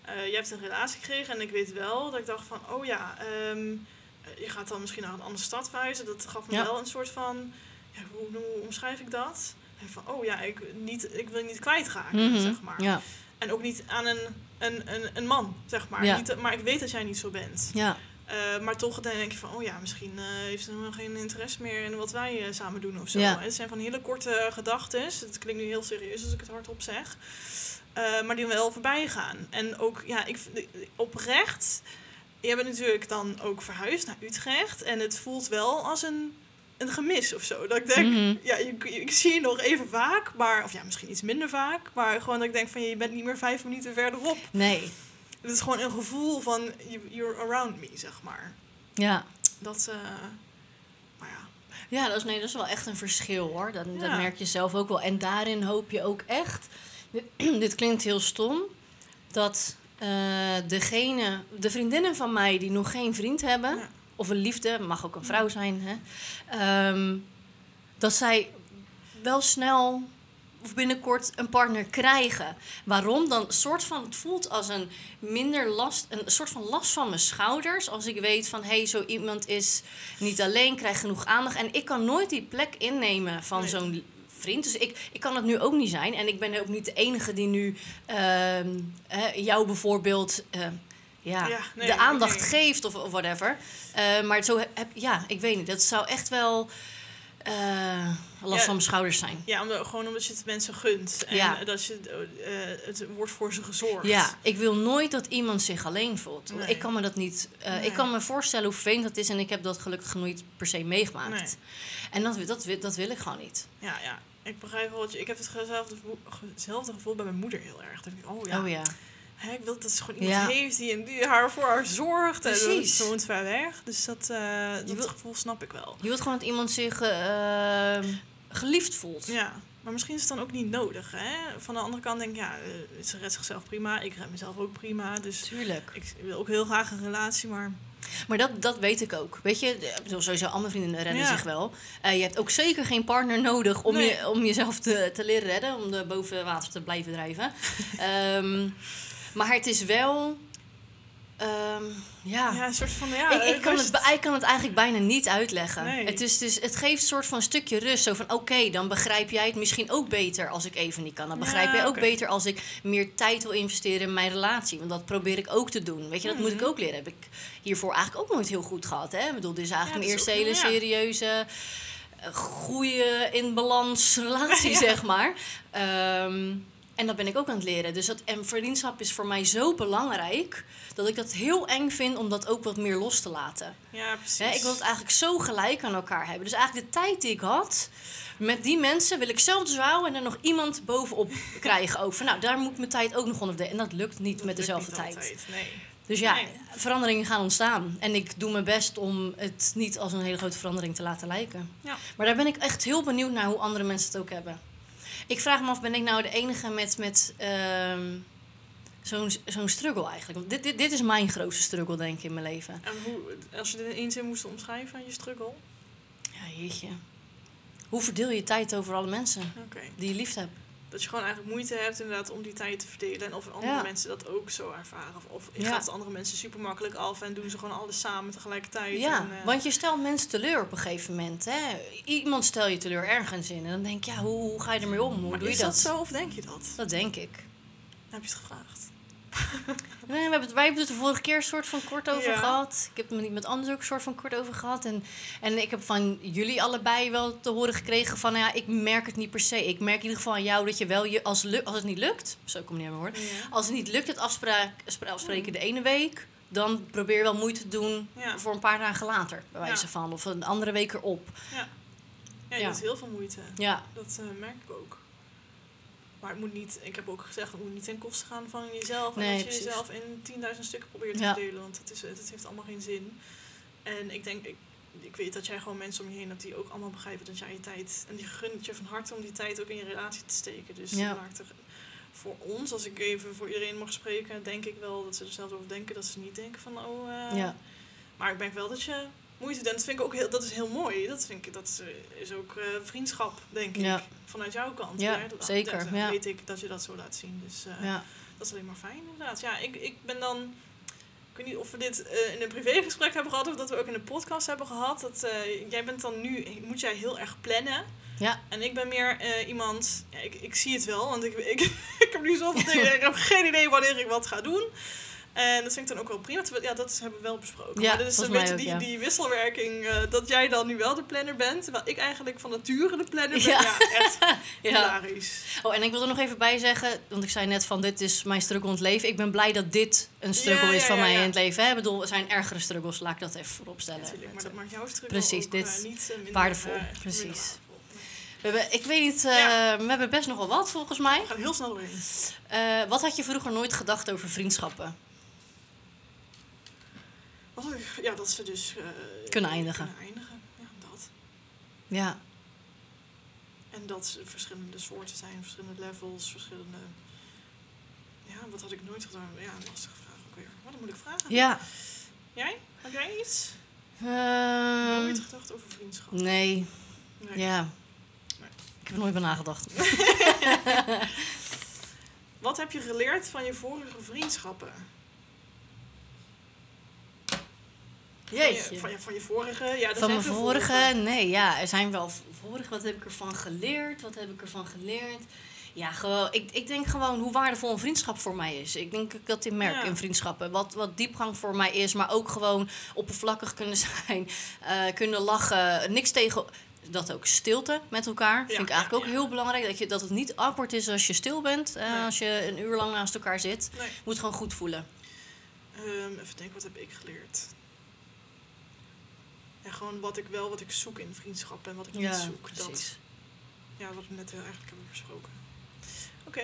[SPEAKER 1] Eh je hebt een relatie gekregen en ik weet wel dat ik dacht van, oh ja, ehm, eh, je gaat dan misschien naar een andere stad verhuizen. Dat gaf me
[SPEAKER 2] Ja.
[SPEAKER 1] wel een soort van, ja, hoe, hoe omschrijf ik dat? En Van, oh ja, ik, niet, ik wil niet kwijtraken,
[SPEAKER 2] Mhm,
[SPEAKER 1] zeg maar.
[SPEAKER 2] Ja,
[SPEAKER 1] En ook niet aan een, een, een, een man, zeg maar.
[SPEAKER 2] Ja.
[SPEAKER 1] Niet, maar ik weet dat jij niet zo bent.
[SPEAKER 2] ja.
[SPEAKER 1] Eh, maar toch dan denk je van, oh ja, misschien eh, heeft ze helemaal geen interesse meer in wat wij eh, samen doen of zo.
[SPEAKER 2] Ja.
[SPEAKER 1] Het zijn van hele korte eh, gedachten. Het klinkt nu heel serieus als ik het hardop zeg. Eh, maar die wel voorbij gaan. En ook, ja, ik, vind- oprecht, je bent natuurlijk dan ook verhuisd naar Utrecht. En het voelt wel als een, een gemis of zo. Dat ik denk,
[SPEAKER 2] Mhm.
[SPEAKER 1] ja, je- je- ik zie je nog even vaak, maar, of ja, misschien iets minder vaak. Maar gewoon dat ik denk van, je bent niet meer vijf minuten verderop.
[SPEAKER 2] Nee,
[SPEAKER 1] Het is gewoon een gevoel van, you- you're around me, zeg maar.
[SPEAKER 2] ja.
[SPEAKER 1] Dat, eh maar ja.
[SPEAKER 2] Ja, dat is, nee, dat is wel echt een verschil hoor. Dat, dat
[SPEAKER 1] Ja.
[SPEAKER 2] merk je zelf ook wel. En daarin hoop je ook echt. Dit klinkt heel stom. Dat eh, degene, de vriendinnen van mij die nog geen vriend hebben.
[SPEAKER 1] Ja.
[SPEAKER 2] Of een liefde, mag ook een vrouw zijn. Hè, ehm, dat zij wel snel of binnenkort een partner krijgen. Waarom? Dan soort van, het voelt als een minder last, een soort van last van mijn schouders. Als ik weet van, hé, hey, zo iemand is niet alleen, krijgt genoeg aandacht. En ik kan nooit die plek innemen van
[SPEAKER 1] Nee.
[SPEAKER 2] zo'n vriend. Dus ik, ik kan het nu ook niet zijn. En ik ben ook niet de enige die nu ehm, hè, jou bijvoorbeeld... eh, ja,
[SPEAKER 1] Ja, nee,
[SPEAKER 2] de aandacht
[SPEAKER 1] nee.
[SPEAKER 2] geeft of, of whatever. Eh, maar zo heb, heb- ja, ik weet niet. Dat zou echt wel eh, last
[SPEAKER 1] Ja.
[SPEAKER 2] van mijn schouders zijn.
[SPEAKER 1] Ja, omdat, gewoon omdat je het mensen gunt. En
[SPEAKER 2] Ja.
[SPEAKER 1] dat je, eh, het wordt voor ze gezorgd.
[SPEAKER 2] Ja, ik wil nooit dat iemand zich alleen voelt. Want
[SPEAKER 1] Nee.
[SPEAKER 2] Ik kan me dat niet. eh,
[SPEAKER 1] Nee.
[SPEAKER 2] Ik kan me voorstellen hoe vervelend dat is en ik heb dat gelukkig nog niet per se meegemaakt.
[SPEAKER 1] Nee.
[SPEAKER 2] En dat, wi- dat, wi- dat wil ik gewoon niet.
[SPEAKER 1] Ja, ja. Ik begrijp wel wat je... Ik heb hetzelfde gevoel, hetzelfde gevoel bij mijn moeder heel erg. Dan denk ik, oh ja.
[SPEAKER 2] Oh ja.
[SPEAKER 1] Hè, ik wil dat ze gewoon iemand
[SPEAKER 2] Ja.
[SPEAKER 1] heeft die, die haar voor haar zorgt. En
[SPEAKER 2] Precies.
[SPEAKER 1] ze woont ver weg. Dus dat, eh, dat
[SPEAKER 2] wil-
[SPEAKER 1] gevoel snap ik wel.
[SPEAKER 2] Je wilt gewoon dat iemand zich eh, eh, geliefd voelt.
[SPEAKER 1] Ja, maar misschien is het dan ook niet nodig. Hè? Van de andere kant denk ik, ja, eh, ze redt zichzelf prima. Ik red mezelf ook prima. Dus
[SPEAKER 2] Tuurlijk.
[SPEAKER 1] ik wil ook heel graag een relatie, maar...
[SPEAKER 2] Maar dat, dat weet ik ook. Weet je, ik bedoel, sowieso alle mijn vriendinnen redden
[SPEAKER 1] Ja.
[SPEAKER 2] zich wel. Eh, je hebt ook zeker geen partner nodig om,
[SPEAKER 1] Nee.
[SPEAKER 2] je, om jezelf te, te leren redden. Om de boven water te blijven drijven. Ehm, maar het is wel... ehm, ja.
[SPEAKER 1] Ja, een soort van... Ja,
[SPEAKER 2] ik, ik,
[SPEAKER 1] eh,
[SPEAKER 2] kan
[SPEAKER 1] was
[SPEAKER 2] het, bij- ik kan het eigenlijk bijna niet uitleggen.
[SPEAKER 1] Nee.
[SPEAKER 2] Het, is dus, het geeft een soort van stukje rust. Zo van, oké, dan begrijp jij het misschien ook beter als ik even niet kan. Dan begrijp
[SPEAKER 1] Ja,
[SPEAKER 2] jij ook
[SPEAKER 1] oké.
[SPEAKER 2] beter als ik meer tijd wil investeren in mijn relatie. Want dat probeer ik ook te doen. Weet je, dat moet
[SPEAKER 1] Mhm.
[SPEAKER 2] ik ook leren. Heb ik hiervoor eigenlijk ook nooit heel goed gehad. Hè? Ik bedoel, dit is
[SPEAKER 1] Ja,
[SPEAKER 2] eigenlijk
[SPEAKER 1] dat
[SPEAKER 2] mijn
[SPEAKER 1] is
[SPEAKER 2] eerste hele
[SPEAKER 1] ook- ja.
[SPEAKER 2] serieuze... eh, Goede in balans relatie,
[SPEAKER 1] Ja.
[SPEAKER 2] zeg maar. Ehm, en dat ben ik ook aan het leren. Dus dat, en vriendschap is voor mij zo belangrijk dat ik dat heel eng vind om dat ook wat meer los te laten.
[SPEAKER 1] Ja, precies.
[SPEAKER 2] Hè, ik wil het eigenlijk zo gelijk aan elkaar hebben. Dus eigenlijk de tijd die ik had met die mensen wil ik zelf dus houden en er nog iemand bovenop krijgen ook. Van, nou, daar moet ik mijn tijd ook nog onder verdelen. En dat lukt niet
[SPEAKER 1] Dat
[SPEAKER 2] met
[SPEAKER 1] lukt
[SPEAKER 2] dezelfde
[SPEAKER 1] niet
[SPEAKER 2] tijd.
[SPEAKER 1] altijd, Nee.
[SPEAKER 2] Dus ja,
[SPEAKER 1] Nee.
[SPEAKER 2] veranderingen gaan ontstaan. En ik doe mijn best om het niet als een hele grote verandering te laten lijken.
[SPEAKER 1] Ja.
[SPEAKER 2] Maar daar ben ik echt heel benieuwd naar hoe andere mensen het ook hebben. Ik vraag me af, ben ik nou de enige met, met ehm, zo'n zo'n struggle eigenlijk? Want dit, dit, dit is mijn grootste struggle, denk ik, in mijn leven.
[SPEAKER 1] En hoe, als je dit in één zin moest omschrijven aan je struggle?
[SPEAKER 2] Ja, jeetje. Hoe verdeel je tijd over alle mensen
[SPEAKER 1] Oké.
[SPEAKER 2] die je lief hebt?
[SPEAKER 1] Dat je gewoon eigenlijk moeite hebt inderdaad om die tijd te verdelen. En of andere
[SPEAKER 2] Ja.
[SPEAKER 1] mensen dat ook zo ervaren. Of, of
[SPEAKER 2] Ja.
[SPEAKER 1] gaat het andere mensen super makkelijk af en doen ze gewoon alles samen tegelijkertijd.
[SPEAKER 2] Ja,
[SPEAKER 1] en, eh,
[SPEAKER 2] want je stelt mensen teleur op een gegeven moment. Hè? Iemand stel je teleur ergens in. En dan denk je, ja, hoe, hoe ga je ermee om? Hoe
[SPEAKER 1] maar
[SPEAKER 2] doe je
[SPEAKER 1] is dat zo of denk je dat?
[SPEAKER 2] Dat denk ik.
[SPEAKER 1] Dan heb je het gevraagd.
[SPEAKER 2] Nee, we hebben het, wij hebben het er de vorige keer een soort van kort over
[SPEAKER 1] Ja.
[SPEAKER 2] gehad. Ik heb het met- met anderen ook een soort van kort over gehad. En, en ik heb van jullie allebei wel te horen gekregen van... nou Ja, ik merk het niet per se. Ik merk in ieder geval aan jou dat je wel... Je, als, lu- als het niet lukt... Zo kom je niet aan mijn woorden.
[SPEAKER 1] Ja.
[SPEAKER 2] Als het niet lukt, het afspraak, spra- afspreken de ene week... dan probeer je wel moeite te doen
[SPEAKER 1] Ja.
[SPEAKER 2] voor een paar dagen later. Bij wijze
[SPEAKER 1] Ja.
[SPEAKER 2] van. Of een andere week erop.
[SPEAKER 1] Ja, je
[SPEAKER 2] Ja.
[SPEAKER 1] doet heel veel moeite.
[SPEAKER 2] Ja,
[SPEAKER 1] Dat eh, merk ik ook. Maar het moet niet, ik heb ook gezegd, het moet niet ten koste gaan van jezelf. en
[SPEAKER 2] Nee,
[SPEAKER 1] als je
[SPEAKER 2] precies.
[SPEAKER 1] jezelf in 10.000 stukken probeert te
[SPEAKER 2] Ja.
[SPEAKER 1] verdelen, want het, is, het heeft allemaal geen zin. En ik denk, ik, ik weet dat jij gewoon mensen om je heen hebt die ook allemaal begrijpen dat jij je tijd. En die gunt het je van harte om die tijd ook in je relatie te steken. Dus
[SPEAKER 2] Ja.
[SPEAKER 1] dat maakt er voor ons, als ik even voor iedereen mag spreken, denk ik wel dat ze er zelfs over denken. Dat ze niet denken van, oh. eh,
[SPEAKER 2] ja.
[SPEAKER 1] Maar ik merk wel dat je moeite doet. En dat vind ik ook heel, dat is heel mooi. Dat, vind ik, dat is, eh, is ook eh, vriendschap, denk ik
[SPEAKER 2] Ja.
[SPEAKER 1] vanuit jouw kant.
[SPEAKER 2] Ja,
[SPEAKER 1] hè, dat-
[SPEAKER 2] zeker,
[SPEAKER 1] dat- eh,
[SPEAKER 2] ja.
[SPEAKER 1] weet ik dat je dat zo laat zien. Dus eh,
[SPEAKER 2] ja.
[SPEAKER 1] dat is alleen maar fijn inderdaad. Ja, ik, ik ben dan... Ik weet niet of we dit eh, in een privégesprek hebben gehad... of dat we ook in een podcast hebben gehad. Dat, eh, jij bent dan nu... Moet jij heel erg plannen.
[SPEAKER 2] Ja.
[SPEAKER 1] En ik ben meer eh, iemand... Ja, ik, ik zie het wel, want ik, ik, ik heb nu zoveel dingen... Ik heb geen idee wanneer ik wat ga doen. En dat vind ik dan ook wel prima. Terwijl- Ja, dat is, hebben we wel besproken.
[SPEAKER 2] Ja,
[SPEAKER 1] maar dat is een
[SPEAKER 2] volgens mij
[SPEAKER 1] beetje die,
[SPEAKER 2] ook, ja.
[SPEAKER 1] die wisselwerking... eh, dat jij dan nu wel de planner bent... terwijl ik eigenlijk van nature de planner ben.
[SPEAKER 2] Ja.
[SPEAKER 1] Ja, echt
[SPEAKER 2] ja.
[SPEAKER 1] hilarisch.
[SPEAKER 2] Oh, en ik wil er nog even bij zeggen, want ik zei net van dit is mijn struggle in het leven. Ik ben blij dat dit een struggle
[SPEAKER 1] Ja,
[SPEAKER 2] is
[SPEAKER 1] ja,
[SPEAKER 2] van
[SPEAKER 1] ja,
[SPEAKER 2] mij
[SPEAKER 1] ja.
[SPEAKER 2] in het leven. Hè? Ik bedoel, er zijn ergere struggles, laat ik dat even voorop stellen.
[SPEAKER 1] Natuurlijk, maar dat maakt jouw struggle
[SPEAKER 2] Precies,
[SPEAKER 1] ook,
[SPEAKER 2] dit
[SPEAKER 1] eh, niet eh, minder,
[SPEAKER 2] waardevol,
[SPEAKER 1] eh, minder
[SPEAKER 2] precies.
[SPEAKER 1] waardevol.
[SPEAKER 2] we hebben, ik weet niet, eh,
[SPEAKER 1] Ja.
[SPEAKER 2] we hebben best nogal wat volgens mij.
[SPEAKER 1] We gaan heel snel doorheen.
[SPEAKER 2] Eh, wat had je vroeger nooit gedacht over vriendschappen?
[SPEAKER 1] Wat had ik- Ja, dat ze dus... eh,
[SPEAKER 2] Kunnen eindigen.
[SPEAKER 1] Kunnen eindigen, ja, dat.
[SPEAKER 2] Ja,
[SPEAKER 1] En dat ze verschillende soorten zijn, verschillende levels, verschillende... Ja, wat had ik nooit gedaan? Ja, een lastige vraag ook weer. Wat moet ik vragen?
[SPEAKER 2] ja.
[SPEAKER 1] Jij? Heb jij iets?
[SPEAKER 2] Ehm,
[SPEAKER 1] Nooit gedacht over vriendschap?
[SPEAKER 2] nee,
[SPEAKER 1] Nee.
[SPEAKER 2] ja.
[SPEAKER 1] Nee.
[SPEAKER 2] Ik heb er nooit bij nagedacht.
[SPEAKER 1] Wat heb je geleerd van je vorige vriendschappen? Van
[SPEAKER 2] Jeetje.
[SPEAKER 1] je, van je, van je vorige? Ja, er
[SPEAKER 2] Van
[SPEAKER 1] zijn
[SPEAKER 2] mijn
[SPEAKER 1] veel
[SPEAKER 2] vorige? Nee, ja, er zijn wel v- vorige. Wat heb ik ervan geleerd? Wat heb ik ervan geleerd? Ja, gewoon, ik, ik denk gewoon hoe waardevol een vriendschap voor mij is. Ik denk dat ik dat in merk
[SPEAKER 1] Ja.
[SPEAKER 2] in vriendschappen. Wat, wat diepgang voor mij is, maar ook gewoon oppervlakkig kunnen zijn, eh, kunnen lachen, niks tegen. Dat ook stilte met elkaar. vind ik
[SPEAKER 1] ja,
[SPEAKER 2] eigenlijk ook
[SPEAKER 1] ja.
[SPEAKER 2] heel belangrijk. Dat, je, dat het niet awkward is als je stil bent. eh,
[SPEAKER 1] Nee.
[SPEAKER 2] Als je een uur lang naast elkaar zit.
[SPEAKER 1] Nee.
[SPEAKER 2] Moet gewoon goed voelen.
[SPEAKER 1] Ehm, even denken, wat heb ik geleerd? Ja, gewoon wat ik wel, wat ik zoek in vriendschap en wat ik niet zoek. Dat, ja, wat we net heel eigenlijk hebben besproken. Oké.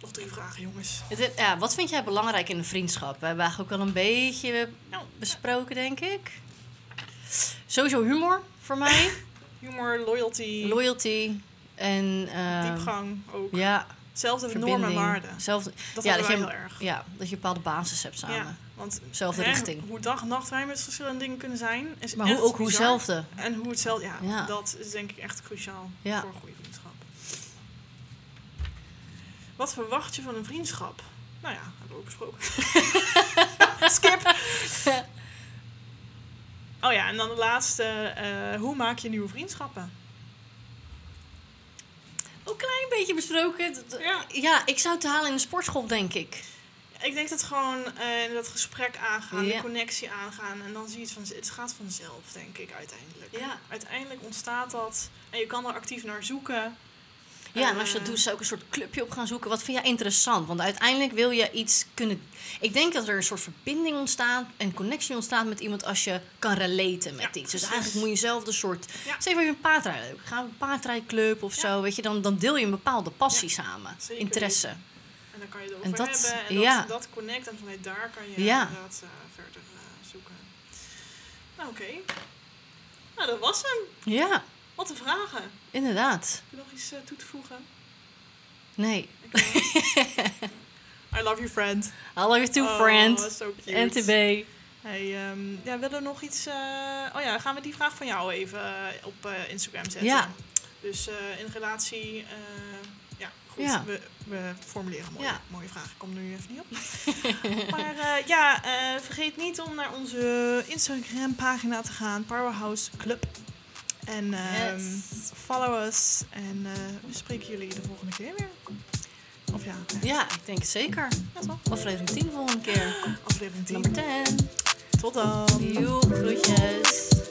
[SPEAKER 1] Nog drie vragen, jongens.
[SPEAKER 2] Het is- Ja, wat vind jij belangrijk in een vriendschap? We hebben eigenlijk ook al een beetje
[SPEAKER 1] Nou,
[SPEAKER 2] besproken, denk ik. Sowieso humor voor mij.
[SPEAKER 1] humor, loyalty,
[SPEAKER 2] Loyalty. En eh,
[SPEAKER 1] diepgang ook.
[SPEAKER 2] Ja,
[SPEAKER 1] Zelfde
[SPEAKER 2] verbinding.
[SPEAKER 1] normen en waarden.
[SPEAKER 2] Zelfde,
[SPEAKER 1] Dat
[SPEAKER 2] Ja,
[SPEAKER 1] hebben
[SPEAKER 2] dat
[SPEAKER 1] wij
[SPEAKER 2] je-
[SPEAKER 1] heel erg.
[SPEAKER 2] ja, dat je een bepaalde basis hebt samen.
[SPEAKER 1] Ja, want
[SPEAKER 2] Zelfde
[SPEAKER 1] hè,
[SPEAKER 2] richting.
[SPEAKER 1] hoe dag en nacht wij met verschillende dingen kunnen zijn. Is
[SPEAKER 2] Maar hoe,
[SPEAKER 1] echt
[SPEAKER 2] ook hoe
[SPEAKER 1] bizar.
[SPEAKER 2] zelfde.
[SPEAKER 1] En hoe hetzelfde, ja,
[SPEAKER 2] Ja.
[SPEAKER 1] dat is denk ik echt cruciaal
[SPEAKER 2] Ja.
[SPEAKER 1] voor een goede vriendschap. Wat verwacht je van een vriendschap? Nou ja, hebben we ook besproken. Skip! Oh ja, en dan de laatste. eh, hoe maak je nieuwe vriendschappen?
[SPEAKER 2] Ook klein beetje besproken. Dat-
[SPEAKER 1] Ja.
[SPEAKER 2] Ja, ik zou het halen in de sportschool, denk ik.
[SPEAKER 1] Ik denk dat gewoon eh, dat gesprek aangaan, de
[SPEAKER 2] Ja.
[SPEAKER 1] connectie aangaan. En dan zie je het van, het gaat vanzelf, denk ik, uiteindelijk.
[SPEAKER 2] Ja.
[SPEAKER 1] Uiteindelijk ontstaat dat. En je kan er actief naar zoeken.
[SPEAKER 2] Ja, en als je
[SPEAKER 1] Eh,
[SPEAKER 2] dat doet, zou ik een soort clubje op gaan zoeken. Wat vind jij interessant? Want uiteindelijk wil je iets kunnen. Ik denk dat er een soort verbinding ontstaat, een connectie ontstaat met iemand als je kan relaten met
[SPEAKER 1] Ja,
[SPEAKER 2] iets. Dus
[SPEAKER 1] precies.
[SPEAKER 2] eigenlijk moet je zelf een soort.
[SPEAKER 1] Ja.
[SPEAKER 2] Zeg maar je een paardrijden. Ik ga een paardrijclub of
[SPEAKER 1] Ja.
[SPEAKER 2] zo. Weet je, dan, dan deel je een bepaalde passie samen.
[SPEAKER 1] zeker
[SPEAKER 2] Interesse.
[SPEAKER 1] En dan kan je erover
[SPEAKER 2] En dat-
[SPEAKER 1] hebben en dat,
[SPEAKER 2] ja.
[SPEAKER 1] dat connect. En vanuit daar kan je
[SPEAKER 2] Ja.
[SPEAKER 1] inderdaad eh, verder eh, zoeken. Nou, oké. Nou, dat was hem.
[SPEAKER 2] Ja,
[SPEAKER 1] Wat een vragen. Heb
[SPEAKER 2] inderdaad.
[SPEAKER 1] je nog iets eh, toe te voegen?
[SPEAKER 2] Nee.
[SPEAKER 1] Ik wel. I love you, friend.
[SPEAKER 2] Hallo je two
[SPEAKER 1] Oh,
[SPEAKER 2] friend.
[SPEAKER 1] so cute.
[SPEAKER 2] NTB.
[SPEAKER 1] Hey, ehm, ja, willen we nog iets... eh, oh ja, gaan we die vraag van jou even eh, op eh, Instagram zetten.
[SPEAKER 2] Ja.
[SPEAKER 1] Dus eh, in relatie... eh, ja, goed.
[SPEAKER 2] Ja.
[SPEAKER 1] We, we formuleren mooie,
[SPEAKER 2] Ja.
[SPEAKER 1] mooie vragen. Ik kom er nu even niet op. maar eh, ja, eh, vergeet niet om naar onze Instagram pagina te gaan. Powerhouse Club. En ehm,
[SPEAKER 2] Yes.
[SPEAKER 1] follow us. En eh, we spreken jullie de volgende keer weer. Of ja, ja,
[SPEAKER 2] Ja, ik denk het zeker.
[SPEAKER 1] dat wel.
[SPEAKER 2] Aflevering 10 volgende keer.
[SPEAKER 1] Aflevering 10.
[SPEAKER 2] Nummer 10.
[SPEAKER 1] Tot dan.
[SPEAKER 2] Joep, groetjes.